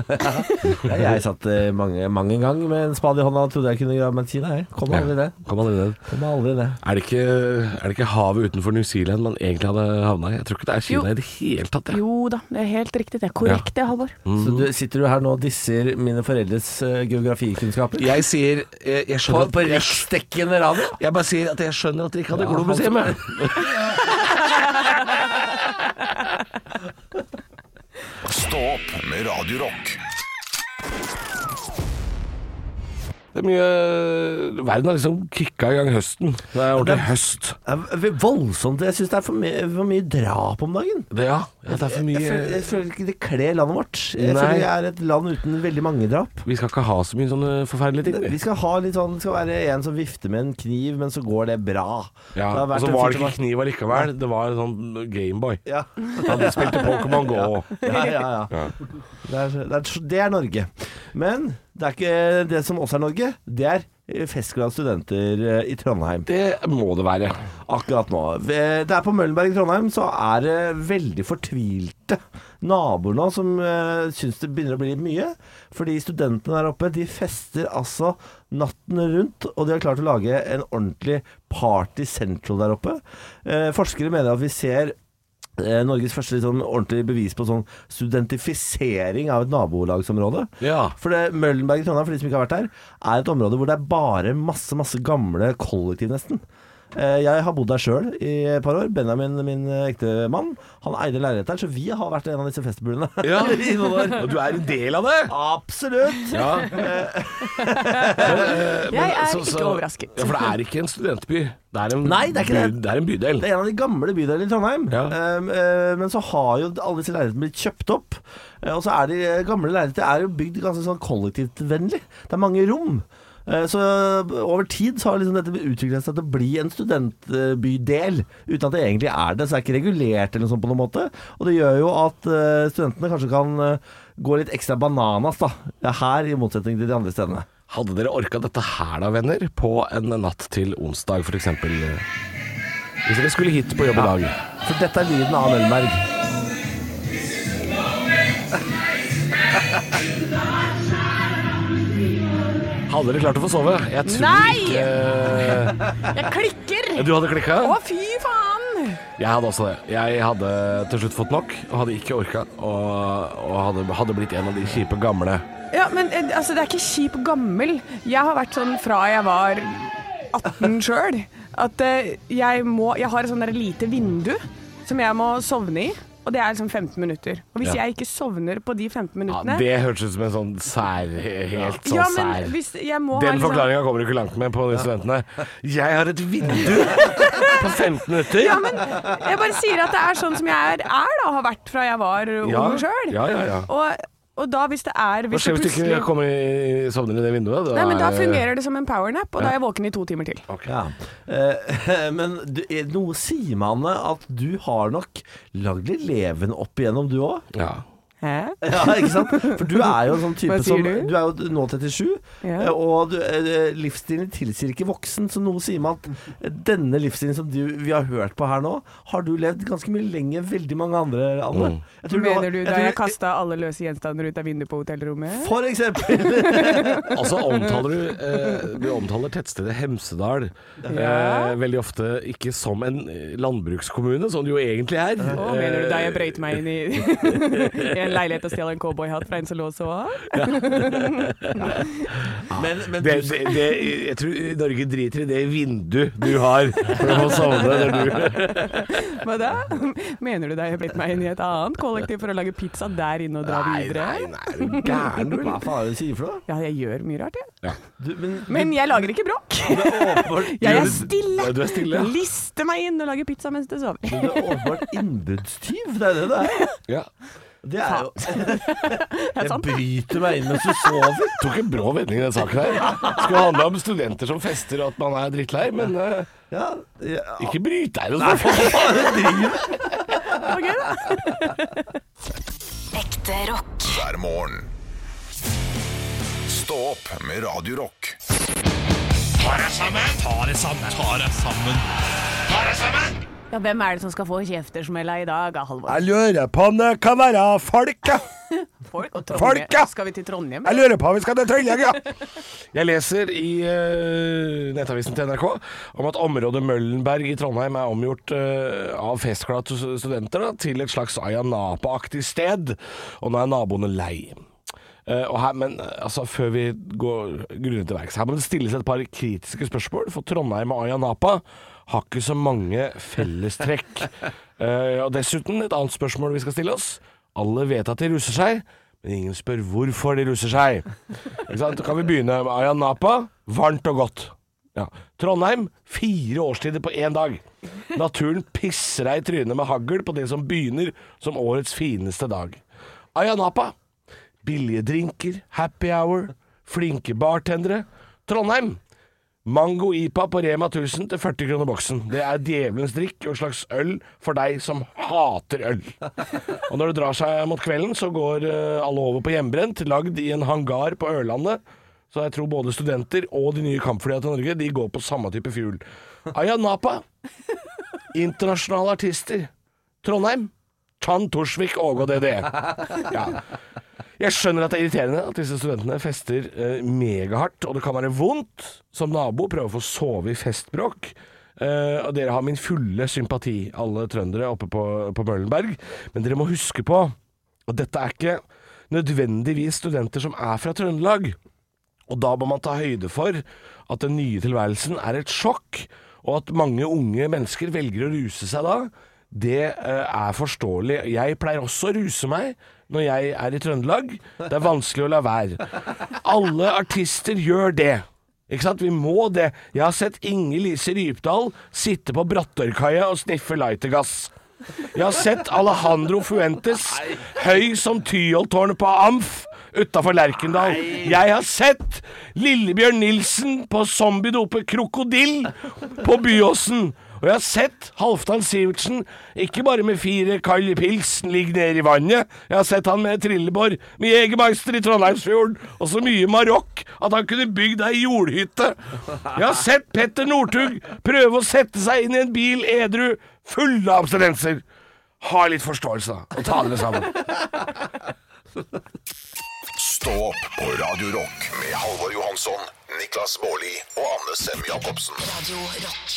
S4: Ja, jeg satt eh, mange, mange ganger med en spade i hånda og trodde jeg kunne grave meg en tid. Jeg kom aldri det.
S5: Kom aldri ned.
S4: Kom aldri det.
S5: Er det, ikke, er det ikke havet utenfor New Zealand man egentlig hadde havna i? Jeg tror ikke det er
S3: Jo.
S5: Kina i det hele tatt. jeg.
S3: Jo da, det er helt riktig. Det er korrekt det, Halvor.
S4: Så du, sitter du her nå og disser mine foreldres eh, geografikunnskaper?
S5: Jeg sier Jeg, jeg skjønner at- jeg,
S4: riksdekkende radio?
S5: jeg bare sier at jeg skjønner at dere ikke hadde Globus hjemme.
S2: Stå opp med Radio Rock.
S5: Det er mye Verden har liksom kicka i gang høsten. Det er ordentlig høst.
S4: Det er voldsomt. Jeg syns det er for, my for mye drap om dagen.
S5: Det, ja. ja, det er for
S4: Jeg føler, jeg
S5: mye
S4: føler ikke det kler landet vårt. Jeg
S5: Nei.
S4: føler jeg er et land uten veldig mange drap.
S5: Vi skal ikke ha så mye sånne forferdelige ting.
S4: Vi
S5: vi.
S4: skal ha litt sånn Det skal være en som vifter med en kniv, men så går det bra. Det
S5: Ja,
S4: har vært
S5: og så
S4: en
S5: var
S4: fyr
S5: det
S4: som
S5: ikke kniv allikevel. Det var en sånn Gameboy.
S4: Ja.
S5: Han spilte Pokémon Go.
S4: Ja, ja, ja. Det, er, det, er, det er Norge. Men det er ikke det som også er Norge. Det er eh, Festglade studenter eh, i Trondheim
S5: Det må det være.
S4: akkurat nå. Ved- Det er på Møllenberg i Trondheim, så er det veldig fortvilte naboer nå som uh, syns det begynner å bli litt mye. Fordi studentene der oppe, de fester altså natten rundt, og de har klart å lage en ordentlig party central der oppe. Eh, forskere mener at vi ser eh, Norges første litt sånn ordentlig bevis på sånn studentifisering av et nabolagsområde.
S5: Ja.
S4: For det, Møllenberg i Trondheim, for de som ikke har vært her, er et område hvor det er bare masse, masse gamle kollektiv, nesten. Eh, Jeg har bodd der sjøl i et par år. Benjamin, min ektemann, han eide leilighet der, så vi har vært en av disse festbulene.
S5: Ja. Og du er en del av det!
S4: (laughs) Absolutt!
S5: Ja. eh,
S3: Jeg er
S5: Så- så-
S3: ikke overrasket.
S5: Ja, for det er ikke en studentby. Det er en,
S4: Nei, det er ikke det.
S5: by, det er en bydel.
S4: Det er en av de gamle bydelene i Trondheim.
S5: Ja.
S4: Um, eh, men så har jo alle disse leilighetene blitt kjøpt opp. Eh, og så er de eh, gamle leiligheter er jo bygd ganske sånn kollektivvennlig. Det er mange rom. Eh, Så over tid så har liksom dette utviklet seg til å bli en studentbydel, uten at det egentlig er det. Så det er ikke regulert eller noe sånt på noen måte. Og det gjør jo at eh, studentene kanskje kan eh, gå litt ekstra bananas da, her, i motsetning til de andre stedene.
S5: Hadde dere orka dette her da, venner, på en natt til onsdag f.eks.? Hvis dere skulle hit på jobb i dag.
S4: For dette er lyden av Møllenberg.
S5: Hadde dere klart å få sove? Jeg tror
S3: Nei!
S5: ikke
S3: Jeg klikker!
S5: Du hadde klikka?
S3: Å, fy faen!
S5: Jeg hadde også det. Jeg hadde til slutt fått nok, og hadde ikke orka. Og, og hadde, hadde blitt en av de kjipe gamle.
S3: Ja, men eh, altså, det er ikke kjip og gammel. Jeg har vært sånn fra jeg var 18 sjøl. At eh, jeg må Jeg har et sånn der lite vindu som jeg må sovne i. Og det er liksom 15 minutter. Og hvis
S5: Ja.
S3: jeg ikke sovner på de 15
S5: Ja,
S3: minuttene
S5: det hørtes ut som en sånn sær Helt sånn
S3: Ja,
S5: sær
S3: men hvis jeg må ha
S5: Den
S3: liksom-
S5: forklaringa kommer du ikke langt med på de studentene. Jeg har et vindu på 15 minutter!
S3: Ja, men jeg bare sier at det er sånn som jeg er, er da, og har vært fra jeg var eh,
S5: Ja,
S3: ung sjøl.
S5: ja, ja, ja.
S3: og, og da, hvis det er
S5: Hva
S3: hvis
S5: skjer
S3: det
S5: hvis du ikke
S3: plutselig-
S5: kommer i, sovner i det vinduet?
S3: Nei, men Da fungerer det som en powernap, og da er jeg våken i to timer til.
S4: Ja. Eh, (laughs) men du, eh, noe sier meg, Anne, at du har nok lagd litt leven opp igjennom, du òg.
S5: Ja.
S3: Hæ?
S4: (laughs) Ja, ikke sant? For du er jo en sånn type
S3: Hva sier
S4: som
S3: du?
S4: er jo nå 37,
S3: Ja.
S4: eh, og du, eh, livsstilen tilsier ikke voksen, så noe sier meg at denne livsstilen som du, vi har hørt på her nå, har du levd ganske mye lenger enn veldig mange andre, Anne.
S5: Mm.
S4: Jeg tror har-
S3: Mener du da
S4: tror-
S3: jeg kasta alle løse gjenstander ut av vinduet på hotellrommet?
S4: For
S5: (laughs)
S4: eksempel.
S5: Altså omtaler du eh, Du omtaler tettstedet Hemsedal eh, veldig ofte ikke som en eh, landbrukskommune, som det jo egentlig er.
S3: Å, mener du da jeg brøyt meg inn i,
S5: (laughs)
S3: i (laughs) en leilighet og stjal en cowboyhatt fra en som lå og sov?
S4: Men, men
S5: Eh, Det,
S4: du,
S5: det, det, jeg tror Norge driter i det vinduet du har for å sovne når du
S3: Hva da? (laughs) Mener du da jeg brøyt meg inn i et annet kollektiv for å lage pizza der inne og dra videre?
S5: nei, er du gæren, du?
S4: hva faen er det du sier for noe?
S3: Ja, jeg gjør mye rart, jeg.
S4: Du, men,
S3: Men jeg lager ikke bråk.
S4: åpenbart,
S3: Jeg er
S5: du-
S3: stille.
S5: Ja, du er stille, ja.
S3: Lister meg inn og lager pizza mens du sover.
S4: du er åpenbart innbruddstyv, det er det det er.
S5: Ja.
S4: (laughs) Det er jo
S3: Det er
S4: Jeg
S3: sant.
S4: bryter meg inn mens du sover.
S5: Tok en brå vending i den saken her. Skulle handle om studenter som fester og at man er drittlei, men eh,
S4: Ja, ja.
S5: ikke bryt deg altså. noe sånt.
S3: Det var gøy, da.
S1: Ekte rock.
S2: hver morgen. Stå opp med Radio Rock.
S3: Ja, hvem er det som skal få kjeftersmella i dag, ah, Halvor?
S5: Jeg lurer på om det kan være folk, ja.
S3: Folk og
S5: Folk, ja!
S3: Skal vi til Trondheim?
S5: Jeg
S3: eller?
S5: lurer på om vi skal til Trøndelag, ja. Jeg leser i eh, nettavisen til NRK om at området Møllenberg i Trondheim er omgjort eh, av festglade studenter da, til et slags Ayanapa-aktig sted, og nå er naboene lei. Eh, og her, men eh, altså, før vi går grundig til verks, her må det stilles et par kritiske spørsmål, for Trondheim og Ayanapa har ikke så mange fellestrekk. Eh, og dessuten et annet spørsmål vi skal stille oss. Alle vet at de russer seg, men ingen spør hvorfor de russer seg. Ikke sant? Kan vi begynne med Ayanapa? Varmt og godt. Ja. Trondheim, fire årstider på én dag. Naturen pisser deg i trynet med hagl på det som begynner som årets fineste dag. Ayanapa. Billige drinker, happy hour, flinke bartendere. Trondheim. Mango IPA på Rema 1000 til 40 kroner boksen. Det er djevelens drikk og en slags øl for deg som hater øl. Og når det drar seg mot kvelden, så går eh, alle over på hjemmebrent, lagd i en hangar på Ørlandet. Så jeg tror både studenter og de nye kampflyene til Norge de går på samme type fuel. Ayanapa. Internasjonale artister. Trondheim. Chan Torsvik Åge og DDE. Ja. Jeg skjønner at det er irriterende at disse studentene fester eh, megahardt, og det kan være vondt som nabo å prøve å få sove i festbråk. Eh, og dere har min fulle sympati, alle trøndere oppe på, på Møllenberg. Men dere må huske på at dette er ikke nødvendigvis studenter som er fra Trøndelag. Og da må man ta høyde for at den nye tilværelsen er et sjokk, og at mange unge mennesker velger å ruse seg da. Det eh, er forståelig. Jeg pleier også å ruse meg når jeg er i Trøndelag. Det er vanskelig å la være. Alle artister gjør det. Ikke sant? Vi må det. Jeg har sett Inger Lise Rypdal sitte på Brattørkaia og sniffe lightergass. Jeg har sett Alejandro Fuentes høy som Tyholttårnet på Amf utafor Lerkendal. Jeg har sett Lillebjørn Nilsen på zombiedopet krokodille på Byåsen. Og jeg har sett Halvdan Sivertsen, ikke bare med fire kalde pilsen ligge nede i vannet. Jeg har sett han med trillebår, med Jegermeister i Trondheimsfjorden, og så mye marokk at han kunne bygd ei jordhytte. Jeg har sett Petter Northug prøve å sette seg inn i en bil edru, full av abstinenser. Ha litt forståelse, da, og ta dere sammen. (laughs)
S2: Stå opp på Radio Rock med Halvor Johansson, Niklas Baarli og Anne Sem Jacobsen.
S1: Radio Rock.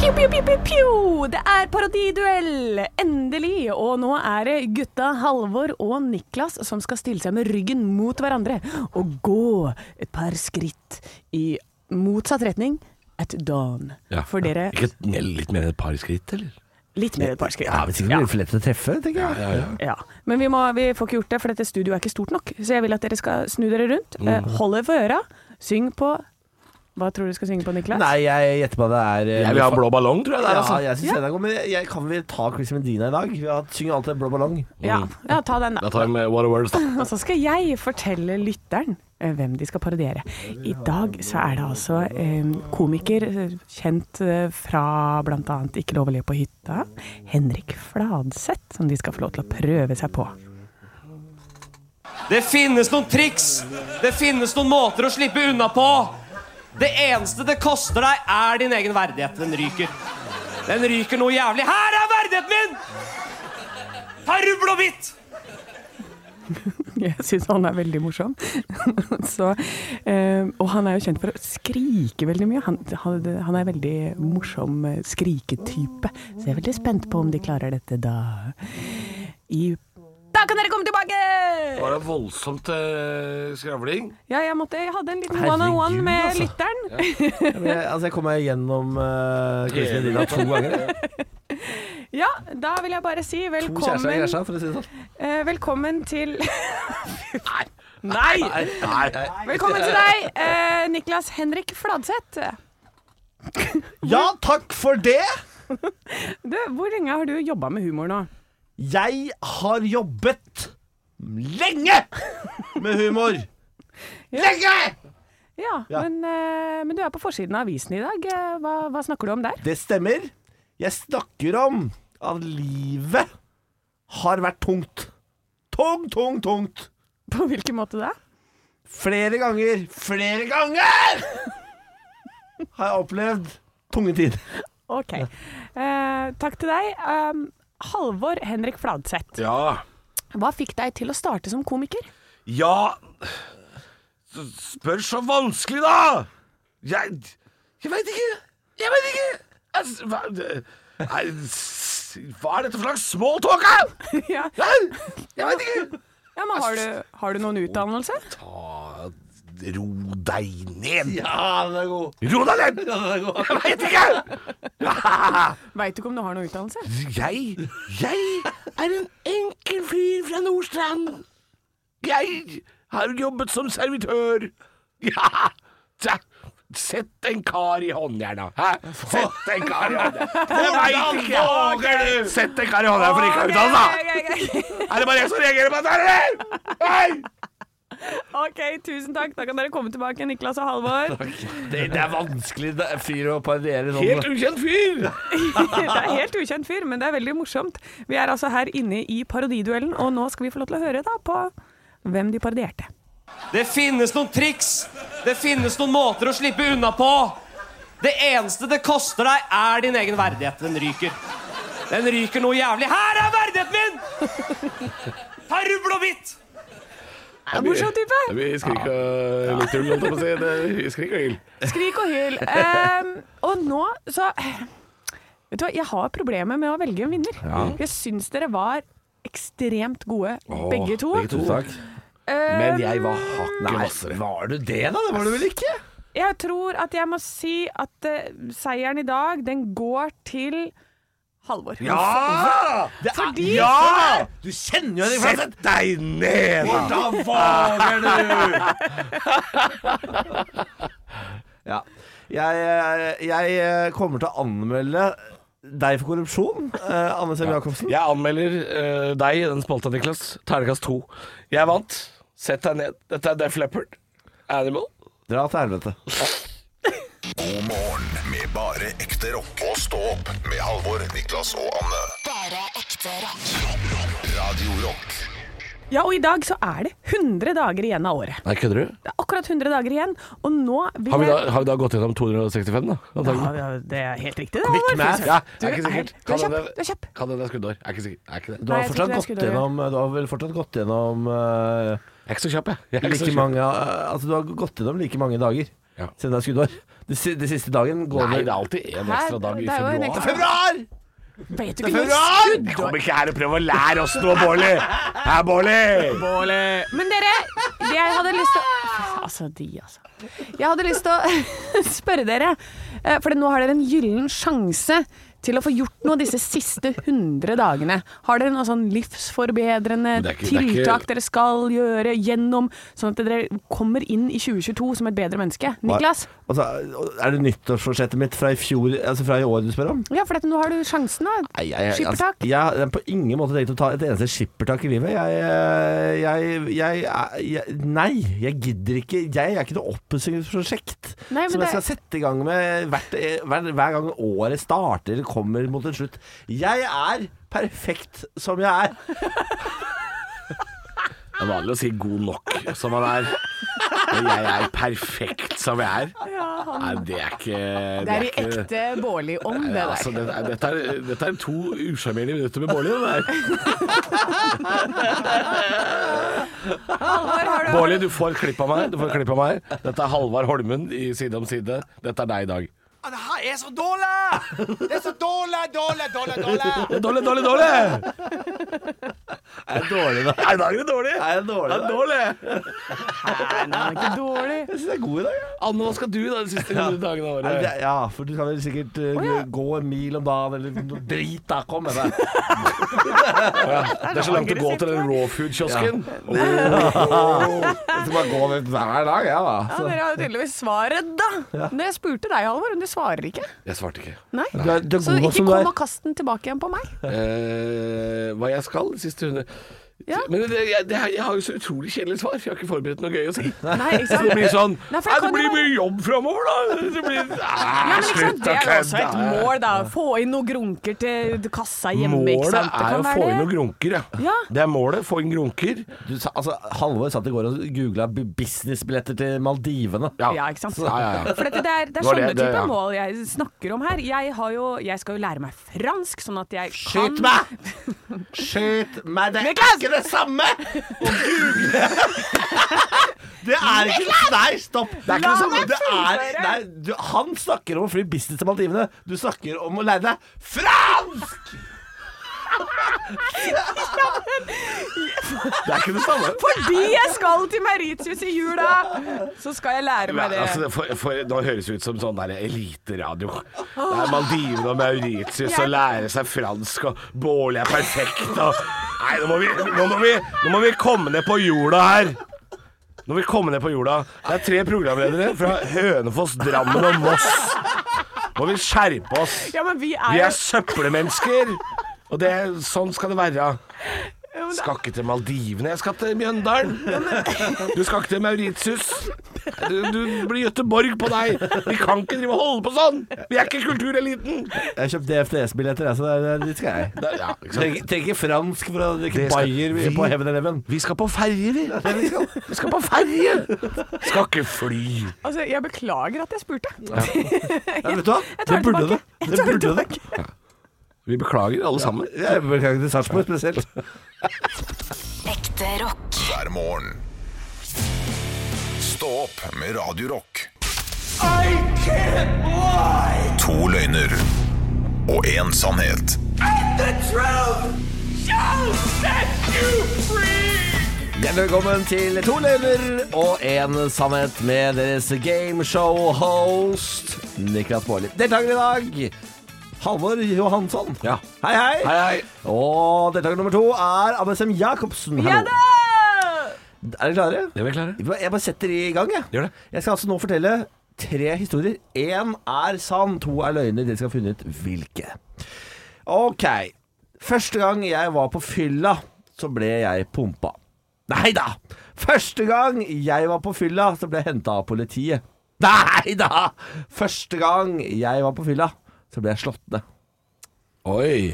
S3: Pew, pew, pew, pew, pew. Det er parodiduell! Endelig! Og nå er det gutta Halvor og Niklas som skal stille seg med ryggen mot hverandre og gå et par skritt i motsatt retning at dawn. For dere
S5: Ikke litt mer enn et par skritt, eller?
S3: litt mer et par skritt.
S4: Ja, men sikkert blir det for lett å treffe, tenker jeg.
S3: Ja, Men vi, må, vi får ikke gjort det, for dette studioet er ikke stort nok. Så jeg vil at dere skal snu dere rundt. eh,
S4: Mm.
S3: Hold dere for øra. Syng på Hva tror du skal synge på, Niklas?
S4: Nei, jeg gjetter på at det er eh,
S5: Jeg vil ha blå ballong, tror jeg.
S4: Ja,
S5: Der, altså.
S4: jeg synes den er god, men jeg, jeg kan vel ta Chris Medina i dag? Vi har synger alltid Blå ballong.
S3: Ja,
S4: Mm.
S3: ja ta den, da.
S5: Da tar vi med What a Words, da.
S3: Og så skal jeg fortelle lytteren eh, hvem de skal parodiere. I dag så er det altså eh, komiker eh, kjent eh, fra bl.a. Ikke lov å le på hytta, Henrik Fladseth, som de skal få lov til å prøve seg på. (laughs)
S8: Det finnes noen triks. Det finnes noen måter å slippe unna på. Det eneste det koster deg, er din egen verdighet. Den ryker. Den ryker noe jævlig. Her er verdigheten min! Ta rubbel og bitt!
S3: Jeg syns han er veldig morsom. (laughs) så, eh, og han er jo kjent for å skrike veldig mye. Han, han, han er veldig morsom eh, skriketype. Så jeg er veldig spent på om de klarer dette da. I Der Da kan dere komme tilbake!
S5: Var det voldsomt eh, skravling?
S3: Ja, jeg, måtte, jeg hadde en liten
S4: Herregud,
S3: one-on-one med
S4: altså.
S3: lytteren.
S4: Men jeg, altså, jeg kom meg gjennom uh, quizen din da to ganger. jeg.
S3: Ja, da vil jeg bare si
S4: (laughs) To kjærester i
S3: velkommen,
S4: gresja, for å si det sånn.
S3: eh, velkommen til (laughs) Nei! Nei!
S5: Nei.
S3: Velkommen til deg, eh, Niklas Henrik Fladseth.
S9: Ja, takk for det!
S3: Du, hvor lenge har du jobba med humor nå?
S9: Jeg har jobbet lenge med humor. Lenge!
S3: Ja,
S9: Ja.
S3: Men, eh, men du er på forsiden av avisen i dag. Eh, Hva, hva snakker du om der? (laughs)
S9: Det stemmer. Jeg snakker om at livet har vært tungt. Tung, tung, tungt.
S3: På hvilken måte da?
S9: Flere ganger, flere ganger har jeg opplevd tunge tider.
S3: Ok. Eh, takk til deg. Um, Halvor Henrik Fladseth,
S5: Ja.
S3: hva fikk deg til å starte som komiker? (laughs)
S5: Ja s- Spør så vanskelig, da! Jeg Jeg veit ikke. Jeg veit ikke. Jeg, s- hva, det- nei, s- hva er dette for slags småtåke?
S3: ja.
S5: Jeg veit ikke.
S3: ja, men har du, har du noen utdannelse?
S5: Ta, ro deg ned.
S9: Ja, den er god.
S5: Ro deg ned! Jeg veit ikke!
S9: (laughs)
S3: Veit du ikke om du har noen utdannelse?
S5: Jeg Jeg er en enkel fyr fra Nordstrand. Jeg har jobbet som servitør. Ja, tja, sett en kar i håndjerna. Hæ? Sett en kar i håndjerna. Jeg veit ikke! Sett en kar i håndjerna for ikke å ha utdannelse! Er det bare jeg som reagerer på dette, eller? Nei!
S3: Ok, tusen takk. Da kan dere komme tilbake, Niklas og Halvor.
S4: Det, det er vanskelig det er fyr å parodiere sånn.
S5: Helt ukjent fyr!
S3: (laughs) Det er helt ukjent fyr, men det er veldig morsomt. Vi er altså her inne i parodiduellen, og nå skal vi få lov til å høre da på hvem de parodierte.
S8: Det finnes noen triks. Det finnes noen måter å slippe unna på. Det eneste det koster deg, er din egen verdighet. Den ryker. Den ryker noe jævlig. Her er verdigheten min! Ta rubbel og bit!
S3: Morsom type!
S5: Vi skrik og litt ull, holdt jeg på å si. Det- Skrik og ild.
S3: Skrik og hyl. Ehm, og nå så Vet du hva, jeg har problemer med å velge en vinner. Jeg syns dere var ekstremt gode, begge to. Ehm,
S5: Men jeg var hakket hvassere.
S4: Var du det, da? Det var du vel ikke?
S3: Jeg tror at jeg må si at eh, seieren i dag, den går til Halvor.
S5: Ja!
S9: Det er,
S3: Fordi-
S9: ja! Du kjenner jo Henrik Fladseth.
S5: Sett deg ned!
S9: Da våger du!
S4: Ja. Jeg, eh, jeg eh, kommer til å anmelde deg for korrupsjon, eh, Anne Sem Jacobsen.
S5: Jeg anmelder eh, deg i den spalta, Niklas. Terningkast to. Jeg vant. Sett deg ned. Dette er Def Leppard. Animal.
S4: Dra til helvete.
S2: God morgen med bare ekte rock. Og stå opp med Halvor, Niklas og Anne.
S1: Bare ekte rock.
S2: Radio Rock
S3: Ja, og i dag så er det 100 dager igjen av året.
S5: Nei, kødder du?
S3: Det er akkurat 100 dager igjen, og nå vil
S5: Har vi, da,
S3: jeg
S5: har vi da gått gjennom 265, da?
S3: ja,
S5: Antagelig.
S3: ja, Det er helt riktig, det. Halvor.
S5: math. Ja,
S3: Du
S5: er ikke
S3: er-
S5: sikkert.
S3: Du er
S5: Kan
S3: kjapp.
S5: det-
S3: Du er kjapp.
S5: Kan det være skuddår? Er ikke sikker. Er ikke det.
S4: Du har,
S3: Nei, jeg
S4: fortsatt
S3: tror ikke
S4: gått
S3: jeg skulle
S4: gjennom, eh, du har vel fortsatt gått gjennom eh,
S5: Jeg er ikke så kjapp, jeg. jeg er ikke
S4: like
S5: så kjapp.
S4: mange eh, Altså, du har gått gjennom like mange dager
S5: Ja.
S4: siden det er skuddår. Det, si- det siste dagen går
S5: Nei,
S4: vel-
S5: det er alltid en
S3: Her-
S5: ekstra dag i
S3: det er jo en
S5: februar.
S3: ekstra-
S9: Februar!
S3: Vet du ikke
S9: er
S3: når
S9: februar!
S3: skudd
S5: Kom ikke her og prøv å lære oss noe, Bårli! Her, Bårli!
S3: Men dere, jeg hadde lyst (laughs) til å Altså, de, altså. Jeg hadde lyst til å (laughs) spørre dere, eh, for nå har dere en gyllen sjanse til å få gjort noe disse siste 100 dagene. Har dere noe sånn livsforbedrende
S5: det er ikke- det er ikke-
S3: tiltak dere skal gjøre gjennom, sånn at dere kommer inn i 2022 som et bedre menneske? Niklas?
S4: Altså, er det nyttårsforsettet mitt fra i fjor Altså fra i år du spør om?
S3: Ja, for dette, nå har du sjansen, da. Skippertak?
S4: Jeg har på ingen måte tenkt å ta et eneste skippertak i livet. Jeg, eh, jeg, jeg, jeg Nei, jeg gidder ikke. Jeg er ikke noe oppussingsprosjekt
S3: Nei, men
S4: som jeg
S3: det-
S4: skal sette i gang med hvert, eh, hver, hver gang året starter eller kommer mot en slutt. Jeg er perfekt som jeg er.
S5: Det er vanlig å si 'god nok' som man er. Men jeg er perfekt som jeg er. Nei, altså, det er ikke
S3: Det er i
S5: ikke-
S3: ekte Bårli-ånd, det
S5: Nei,
S3: der.
S5: altså, det, er- dette, er, dette er to usjarmerende minutter med Bårli. det der.
S3: Halvor, har du-
S5: Bårli, du får et klipp av meg. Du får et klipp av meg. Dette er Halvard Holmen i Side om side. Dette er deg i dag.
S9: Ja, det her
S6: er så dårlig! Det er så dårlig, dårlig, dårlig, dårlig!
S5: Dårlig, dårlig, dårlig!
S4: Er det dårlig, da?
S5: Er dagen dårlig?
S4: Er det dårlig,
S5: Er
S4: da?
S5: det dårlig?
S3: Nei, nei, den er ikke dårlig.
S4: Jeg synes det er god i dag. ja.
S5: Anne, hva skal du da de siste dagene av
S4: Nei, men
S5: året?
S4: det- Ja, for du kan vel sikkert eh, gå en mil om dagen eller noe drit. da, Kom med deg.
S5: Det er så langt å gå til den raw food-kiosken.
S4: Jeg skal bare gå med hver dag, jeg, da.
S3: Ja, Dere har jo tydeligvis svaret, da. Men jeg spurte deg, Halvor, men du svarer ikke.
S5: Jeg svarte ikke.
S3: Nei.
S4: Du er, du er
S3: Så
S4: god nok
S3: ikke
S4: som du
S3: kom
S4: er.
S3: og kast den tilbake igjen på meg.
S5: Eh, hva jeg skal de siste hundre
S3: Ja.
S5: Men det, jeg, det, jeg har jo så utrolig kjedelig svar, for jeg har ikke forberedt noe gøy å si.
S3: Nei, ikke
S5: Så (laughs) det blir
S3: sant?
S5: sånn
S3: Nei, for
S5: «Nei, Det
S3: jeg kan
S5: blir
S3: jo-
S5: mye jobb framover, da! Det blir,
S3: Ja,
S5: Nei,
S3: men ikke sant?
S5: slutt
S3: Det
S5: å
S3: er jo også et
S5: kødde.
S3: mål, da. Få inn noen grunker til kassa hjemme. ikke
S5: Målet
S3: sant? Det
S5: er
S3: kan
S5: å
S3: være
S5: få
S3: det.
S5: inn noen grunker, ja.
S3: Ja.
S5: Det er målet. Få inn grunker.
S4: Du, sa- altså, Halvor satt i går og googla businessbilletter til Maldivene.
S3: Ja, ikke sant?
S5: Ja, ja, ja.
S3: For dette, det er, det er
S5: Var det-
S3: sånne
S5: det-
S3: typer
S5: ja.
S3: mål jeg snakker om her. Jeg, har jo, jeg skal jo lære meg fransk, sånn at jeg kan
S4: Skyt meg! Skyt meg! Det er
S3: Niklas!
S4: ikke det samme! Å google (laughs) Det er ikke Nei, stopp! Det er ikke det samme.
S3: meg
S4: Det er,
S3: fullføre!
S4: nei, du, han snakker om å fly business til Maldivene. Du snakker om å lære deg fransk! Det er ikke det samme.
S3: Fordi jeg skal til Mauritius i jula, så skal jeg lære
S5: Ja,
S3: meg det.
S5: altså, det for, for, nå høres det ut som sånn der eliteradio. Det er Maldivene og Mauritius og
S3: Jeg-
S5: lære seg fransk og Bårli er perfekt og Nei, nå må, vi, nå, må vi, nå må vi komme ned på jorda her. Nå må vi komme ned på jorda. Det er tre programledere fra Hønefoss, Drammen og Voss. Må vi skjerpe oss.
S3: Ja, men vi er
S5: Vi
S3: jo
S5: er søppelmennesker. Og det, sånn skal det være. Skal ikke til Maldivene, jeg skal til Mjøndalen. Du skal ikke til Mauritius. Du, du blir Gøteborg på deg. Vi kan ikke drive og holde på sånn. Vi er ikke kultureliten.
S4: Jeg har kjøpt DFDS-billetter, jeg, så det, det skal jeg.
S5: Det- ja, ikke sant?
S4: Trenger trenger ikke fransk for å drikke
S5: Det skal-
S4: Bayer
S5: vi-
S4: på Heaven Eleven.
S5: Vi skal på ferje, vi. Vi skal på ferje. Skal ikke fly.
S3: Altså, jeg beklager at jeg spurte.
S4: Ja, vet du hva?
S3: Jeg tar
S4: Det burde det.
S3: tilbake. Jeg
S4: Det
S3: tar
S4: burde det.
S3: tilbake.
S5: Vi beklager alle sammen.
S4: Jeg beklager til Sarpsborg spesielt.
S1: Ekte rock.
S2: hver morgen. Stå opp med Radio Rock. To løgner og én sannhet.
S4: Hjertelig velkommen til to løgner og en sannhet med deres gameshow-host Niklas Baarli. Deltaker i dag Halvor Johansson.
S5: Ja.
S4: Hei, hei.
S5: Hei, hei.
S4: Og deltaker nummer to er Abesem Jacobsen.
S3: Ja
S4: Hallo.
S3: da!
S4: Er dere klare?
S5: Det er vi klare.
S4: Jeg bare setter i gang, jeg.
S5: Gjør det.
S4: Jeg skal altså nå fortelle tre historier. Én er sann, to er løgner. Dere skal finne ut hvilke. Ok. Første gang jeg var på fylla, så ble jeg pumpa. Nei da! Første gang jeg var på fylla, så ble jeg henta av politiet. Nei da! Første gang jeg var på fylla, så ble jeg slått ned.
S5: Oi.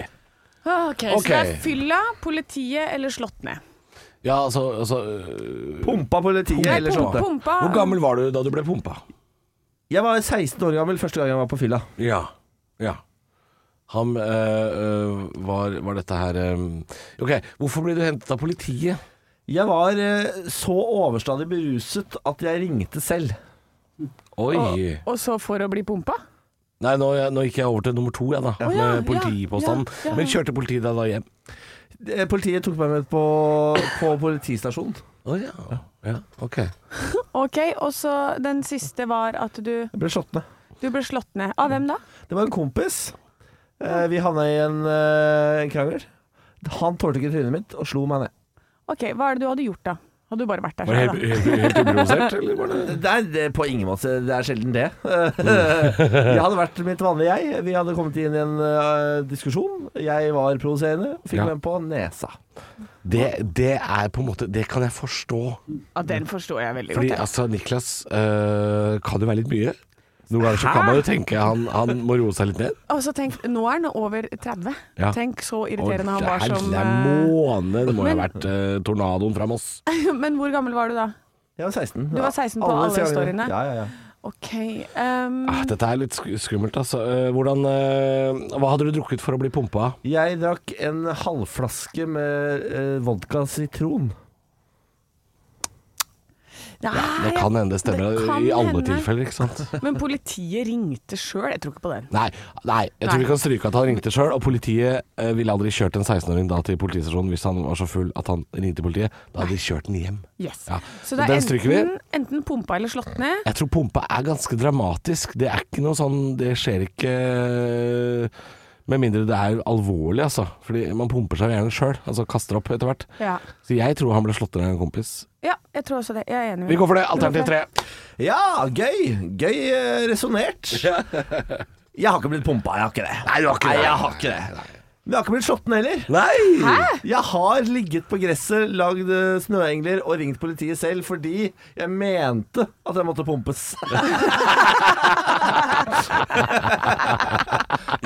S3: Ah, Ok, Så det er fylla, politiet eller slått ned.
S5: Ja, altså, altså øh,
S4: Pumpa politiet
S5: Nei,
S4: eller slått
S3: Pumpa.
S4: ned.
S3: pumpa.
S5: Hvor gammel var du da du ble pumpa?
S4: Jeg var 16 år gammel første gang jeg var på fylla.
S5: Ja. ja. Han øh, øh, var, var dette her øh, Ok, hvorfor ble du hentet av politiet?
S4: Jeg var eh, så overstadig beruset at jeg ringte selv.
S5: Oi.
S3: Og så for å bli pumpa?
S5: Nei, nå, nå gikk jeg over til nummer to, jeg, da.
S3: ja,
S5: med
S3: ja,
S5: politipåstanden.
S3: ja, ja.
S5: Men kjørte politiet deg da hjem?
S4: Eh, Politiet tok meg med på, på politistasjonen.
S5: Å ja. ja. Ok.
S3: Ok, og så den siste var at du,
S4: Jeg ble slått ned.
S3: du ble slått ned. Av hvem da?
S4: Det var en kompis. Eh, Vi havna i en, eh, en krangel. Han tålte ikke trynet mitt og slo meg ned.
S3: Ok, Hva er det du hadde gjort da? Hadde du bare vært der
S5: Var det
S3: selv,
S5: helt,
S3: da?
S5: helt, helt uprovosert, eller var det
S4: Det er det, er på ingen måte Det er sjelden det.
S3: Mm.
S4: (laughs) jeg hadde vært mitt vanlige jeg. Vi hadde kommet inn i en eh, diskusjon. Jeg var provoserende. Fikk
S5: Ja.
S4: meg på nesa.
S5: det, det er på en måte Det kan jeg forstå.
S3: Ja, den forstår jeg veldig
S5: Fordi
S3: godt. jeg.
S5: altså, Niklas øh, kan jo være litt mye. Noen ganger så kan man jo tenke han, han må roe seg litt ned.
S3: Og så tenk, Nå er han over 30.
S5: Ja.
S3: Tenk så
S5: Å,
S3: irriterende han var
S5: herre
S3: som eh,
S5: måne, det må jo ha
S3: Men-
S5: vært eh, tornadoen fra Moss.
S3: (laughs) Men hvor gammel var du da?
S4: Jeg var 16.
S3: Du var 16 på alle storyene?
S4: Ja, ja, ja.
S3: OK ehm,
S5: Ah, dette er litt sk skummelt, altså. Eh, hvordan eh, Hva hadde du drukket for å bli pumpa?
S4: Jeg drakk en halvflaske med eh, vodka sitron.
S5: Det kan hende det stemmer
S3: det kan
S5: i alle
S3: hende.
S5: tilfeller, ikke sant?
S3: Men politiet ringte sjøl, jeg tror ikke på den.
S5: Nei, nei jeg tror
S3: Nei.
S5: vi kan stryke at han ringte sjøl. Og politiet eh, ville aldri kjørt en 16-åring da til politistasjonen hvis han var så full at han ringte politiet. Da hadde de kjørt den hjem.
S3: Yes.
S5: Ja,
S3: Så det er
S5: den stryker vi.
S3: enten, enten pumpa eller slått ned.
S5: Jeg tror pumpa er ganske dramatisk. Det er ikke noe sånn Det skjer ikke Med mindre det er alvorlig, altså. Fordi man pumper seg gjerne sjøl. Altså kaster opp etter hvert.
S3: Ja.
S5: Så jeg tror han ble slått ned av en kompis.
S3: ja, jeg tror også det. Jeg er enig.
S5: Vi går for det. Alternativ tre.
S4: Ja, gøy! Gøy resonnert. Jeg har ikke blitt pumpa, jeg har ikke det.
S5: Nei, du har ikke det.
S4: jeg har ikke det. Men jeg har ikke blitt slått ned heller.
S5: Nei!
S4: Jeg har ligget på gresset, lagd eh, snøengler og ringt politiet selv fordi jeg mente at jeg måtte pumpes. (laughs)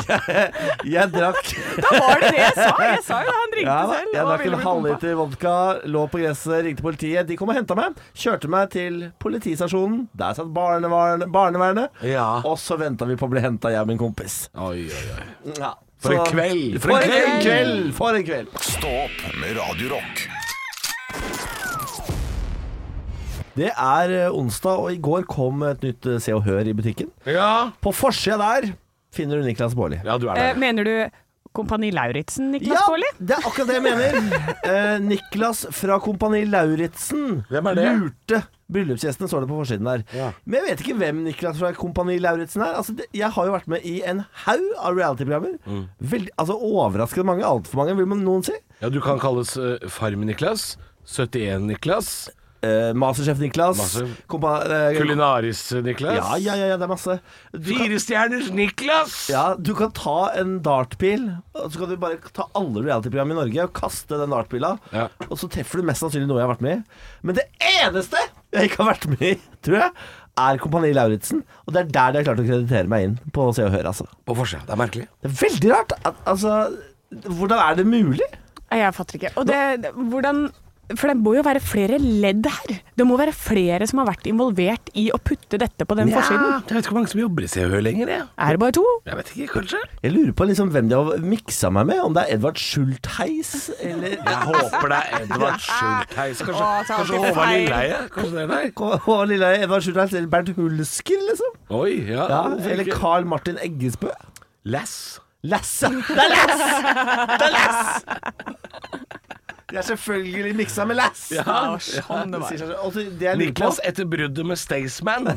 S4: jeg, jeg drakk
S3: Da var det det jeg sa! Jeg sa jo det, han ringte
S4: ja, da.
S3: selv.
S4: jeg
S3: og
S4: drakk en
S3: ville bli pumpa.
S4: halvliter vodka, lå på gresset, ringte politiet. De kom og henta meg. Kjørte meg til politistasjonen. Der satt barnevernet, barnevernet.
S5: Ja.
S4: og så venta vi på å bli henta, jeg og min kompis.
S5: Oi, oi, oi.
S4: Ja.
S5: For en
S4: Så-
S5: kveld.
S4: For en kveld! kveld. For en kveld.
S2: Stå opp med Radio Rock.
S4: Det er eh, onsdag, og i går kom et nytt eh, Se og Hør i butikken.
S5: Ja.
S4: På forsida der finner du Niklas Baarli.
S5: ja, du er
S3: Eh,
S5: der.
S3: Mener du Kompani Lauritzen, Niklas Baarli?
S4: det er akkurat det jeg mener. Eh, Niklas fra Kompani Lauritzen
S5: Hvem er det?
S4: lurte bryllupsgjestene, står det på forsiden der.
S5: Ja.
S4: Men jeg vet ikke hvem Niklas fra Kompani Lauritzen er. Altså, det, jeg har jo vært med i en haug av reality-programmer.
S5: Mm.
S4: Veldig- Altså, overraskende mange. Altfor mange, vil man noen si.
S5: Ja, du kan kalles eh, Farm-Niklas. 71-Niklas.
S4: Eh, Mastersjef Niklas.
S5: Master-
S4: Kompa- eh,
S5: Kulinaris-Niklas.
S4: Ja, ja, ja, ja, det er masse. Du kan,
S5: Firestjerners Niklas!
S4: ja, du kan ta en dartpil, og så kan du bare ta alle reality-programmene i Norge og kaste den dartpila,
S5: Ja.
S4: og så treffer du mest sannsynlig noe jeg har vært med i. Men det eneste jeg ikke har vært med i, tror jeg, er Kompani Lauritzen, og det er der de har klart å kreditere meg inn på Se og Hør, altså.
S5: På forsida. Det er merkelig.
S4: Det er veldig rart. At, altså Hvordan er det mulig?
S3: Nei, Jeg fatter ikke. Og det, det- hvordan for det må jo være flere ledd her. Det må være flere som har vært involvert i å putte dette på den forsiden.
S5: Jeg vet ikke hvor mange som jobber i CHØ lenger, jeg.
S3: Er det bare to?
S5: Jeg vet ikke, kanskje?
S4: Jeg lurer på liksom hvem de har miksa meg med. Om det er Edvard Schultheis eller
S5: Jeg håper det er Edvard Schultheis. Kanskje,
S3: Å, ta
S5: kanskje
S3: alltid
S5: Håvard
S3: feil.
S5: Lilleheie? Kanskje det er deg?
S4: og lille Edvard Schultheis eller Bernt Hulsker, liksom.
S5: Oi, ja.
S4: Ja,
S5: hvorfor
S4: eller
S5: ikke?
S4: Carl Martin Eggesbø.
S5: Lass.
S4: Lasse! Det er Lass! Det er Lass! De er selvfølgelig miksa med Lass.
S5: Ja,
S4: sånn det var. Og så det jeg lurer på
S5: Niklas etter bruddet med (laughs) Staysman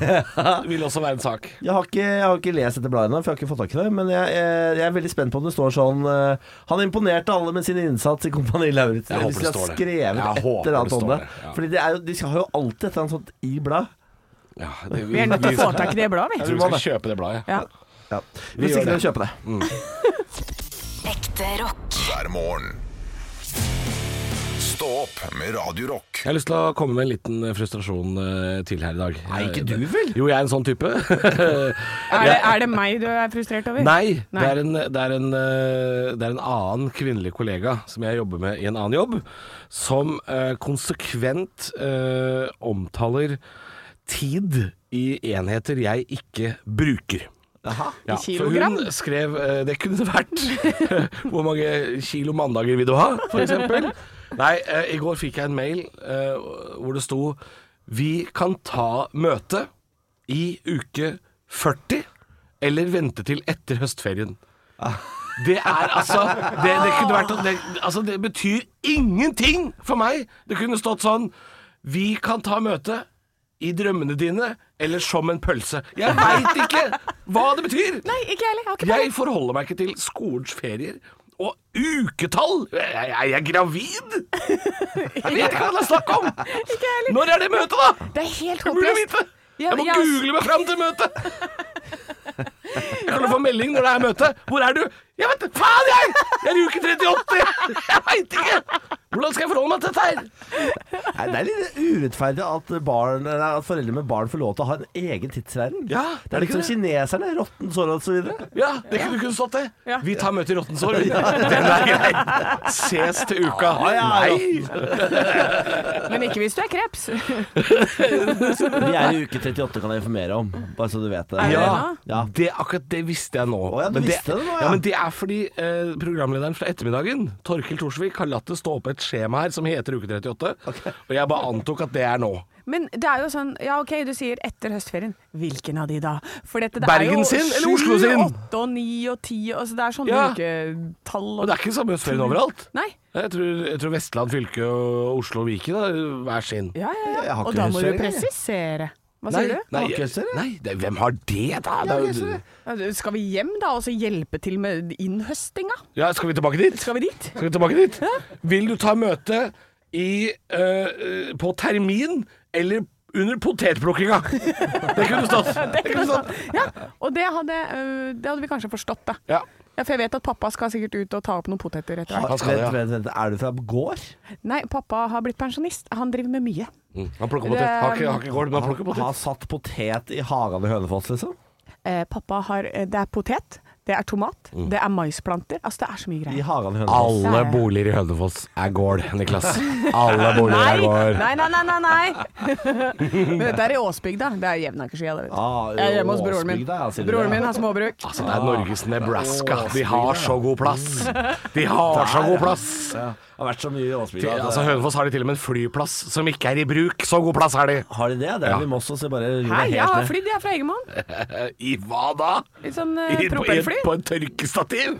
S5: vil også være en sak.
S4: jeg har, ikke, jeg har ikke lest dette bladet ennå, for jeg har ikke fått tak i det. Men jeg, jeg, jeg er veldig spent på om det står sånn eh, Han imponerte alle med sin innsats i Kompani Lauritzen.
S5: Jeg håper
S4: Hvis de
S5: det
S4: har
S5: står det.
S4: skrevet
S5: Jeg
S4: et
S5: håper
S4: eller annet
S5: det
S4: om
S5: står
S4: det.
S5: det, ja.
S4: Fordi det er jo, de har jo alltid et eller annet sånt i bladet.
S5: Ja, det,
S3: Vi er nødt til å få
S5: vi-
S3: tak i det bladet,
S5: Jeg
S3: vi.
S5: tror vi skal kjøpe det bladet.
S3: Ja.
S4: Ja. Hvis
S5: gjør
S4: ikke de kjøper det.
S1: Ekte rock.
S2: hver morgen. Stå opp med Radio Rock.
S5: Jeg har lyst til å komme med en liten frustrasjon eh, til her i dag. Nei,
S4: ikke du vel?
S5: Jo, jeg er en sånn type. (laughs)
S3: Er det, er det meg du er frustrert over?
S5: Nei,
S3: Nei.
S5: Det, er en, det, er en, eh, det er en annen kvinnelig kollega som jeg jobber med i en annen jobb, som eh, konsekvent eh, omtaler tid i enheter jeg ikke bruker. Ja,
S3: I
S5: for
S3: kilogram?
S5: Hun skrev eh, Det kunne det vært. (laughs) Hvor mange kilo mandager vil du ha, f.eks.? Nei, eh, i går fikk jeg en mail eh, hvor det sto Vi kan ta møte i uke 40 eller vente til etter høstferien. Det er altså Det, det kunne vært det, Altså, det betyr ingenting for meg. Det kunne stått sånn Vi kan ta møte i drømmene dine eller som en pølse. Jeg veit ikke hva det betyr!
S3: Nei, ikke jeg heller. Jeg har ikke
S5: Jeg forholder meg ikke til skolens ferier og uketall! Jeg, jeg, jeg er gravid! Jeg vet ikke hva det er snakk om!
S3: heller.
S5: Når er det møtet, da?
S3: Det er helt
S5: Umulig å
S3: håpløst.
S5: vite! Jeg må
S3: Ja, altså. ja.
S5: google meg fram til møtet! Jeg kan få melding når det er møte. Hvor er du? Jeg vet det! Faen, jeg! Jeg er i uke 38! Jeg veit ikke! Hvordan skal jeg forholde meg til dette her?
S4: Nei, det er litt urettferdig at, barn, eller at foreldre med barn får lov til å ha en egen tidsregning. det
S5: Ja,
S4: er
S5: er det ikke
S4: liksom kineserne, rotten sår og så videre.
S5: Ja, det kunne kunne stått det.
S3: Ja.
S5: Vi tar møte i råttent sår. vi. Den er grei. Ses til uka. Nei!
S3: Men ikke hvis du er kreps.
S4: Vi er i uke 38, kan jeg informere om. Bare så du vet det.
S3: Er det
S5: Ja,
S4: Ja.
S5: det, akkurat det visste jeg nå.
S4: ja, du
S5: men, det,
S4: visste det nå, ja.
S5: ja. men det er fordi eh, programlederen fra ettermiddagen, Torkil Torsvik, har latt det stå opp et skjema her som heter Uke 38. Og jeg bare antok at det er nå.
S3: Men det er jo sånn Ja, OK, du sier etter høstferien. Hvilken av de da? For dette, det
S5: Bergen sin eller Oslo sin?
S3: Sju, åtte og ni og ti og så Det er sånne
S5: Ja.
S3: uketall
S5: Og det er ikke samme høstferien overalt.
S3: Nei.
S5: Jeg tror, jeg tror Vestland fylke og Oslo og Viken er hver sin.
S3: Ja, ja, ja.
S9: Jeg har
S3: Og
S9: ikke
S3: da må du
S9: høstferie, jeg.
S3: presisere. Hva
S5: Nei,
S3: sier du?
S5: Nei,
S9: Har ikke høstferie?
S5: nei det, hvem har det, da? Det er jo-
S3: Ja, du, Skal vi hjem da, og så hjelpe til med innhøstinga?
S5: Ja, skal vi tilbake dit?
S3: Skal vi dit?
S5: Skal vi tilbake dit? Vil du ta møte i, øh, på termin eller under potetplukkinga? Det kunne stått.
S3: (laughs)
S5: Det kunne stått.
S3: Ja, og det hadde, øh, det hadde vi kanskje forstått, da.
S5: Ja.
S3: Ja, For jeg vet at pappa skal sikkert ut og ta opp noen poteter etter hvert.
S5: Han skal det, ja.
S4: Vent, vent, vent. Er du fra gård?
S3: Nei, pappa har blitt pensjonist. Han driver med mye.
S5: Mm, Han plukker potet. Har ikke, har
S3: um,
S5: ikke gård, men han plukker potet.
S4: Har satt potet i hagen i Hønefoss, liksom?
S3: Eh, pappa har eh, Det er potet, det er tomat,
S4: Mm.
S3: det er maisplanter. Altså, det er så mye
S4: I
S3: greier.
S4: hagen i Hønefoss.
S5: Alle boliger i Hønefoss er gård, Niklas.
S3: (laughs)
S5: Alle boliger er gård.
S3: nei, nei, nei, nei, nei.
S4: (laughs)
S3: Men dette er i Åsbygda. Det er Jevnakerskia, det, vet du.
S4: Ah,
S3: jeg er hjemme hos broren min.
S4: Åsbygda, ja, Ah, sier du
S3: broren
S4: det.
S3: min har småbruk.
S5: Altså, det er Norges Nebraska. De har så god
S3: (laughs)
S5: plass. De har så god plass.
S4: Ja, har vært så mye i Åsbygda. at-
S5: Altså, Hønefoss har de til og med en flyplass som ikke er i bruk. Så god plass har de.
S4: har de det? Det er
S5: Ja.
S4: vi må også se bare
S3: Hei, jeg har
S4: ned.
S3: flydd, jeg er fra Egermoen.
S5: Eh, I hva da?
S3: Litt sånn eh,
S5: I, på, i,
S3: propellfly.
S5: på en
S3: (laughs)
S5: tørkestativ?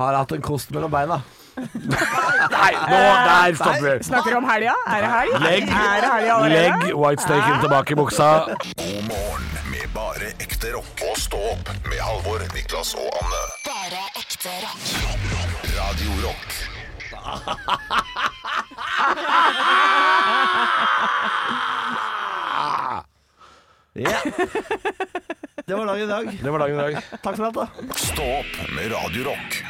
S4: Har hatt en kost mellom beina.
S5: Nei, nå der stopper vi.
S3: Snakker om helga. Er det helg?
S5: Legg,
S3: Er det helg allerede?
S5: legg White Snaken tilbake i buksa.
S2: God morgen med bare ekte rock. Og stå opp med Halvor, Niklas og Anne.
S1: Bare ekte rock.
S2: Radio Rock
S4: Ja. Det var dagen i dag.
S5: Det var dagen i dag.
S4: Takk for alt, da.
S2: Stå opp med Radio Rock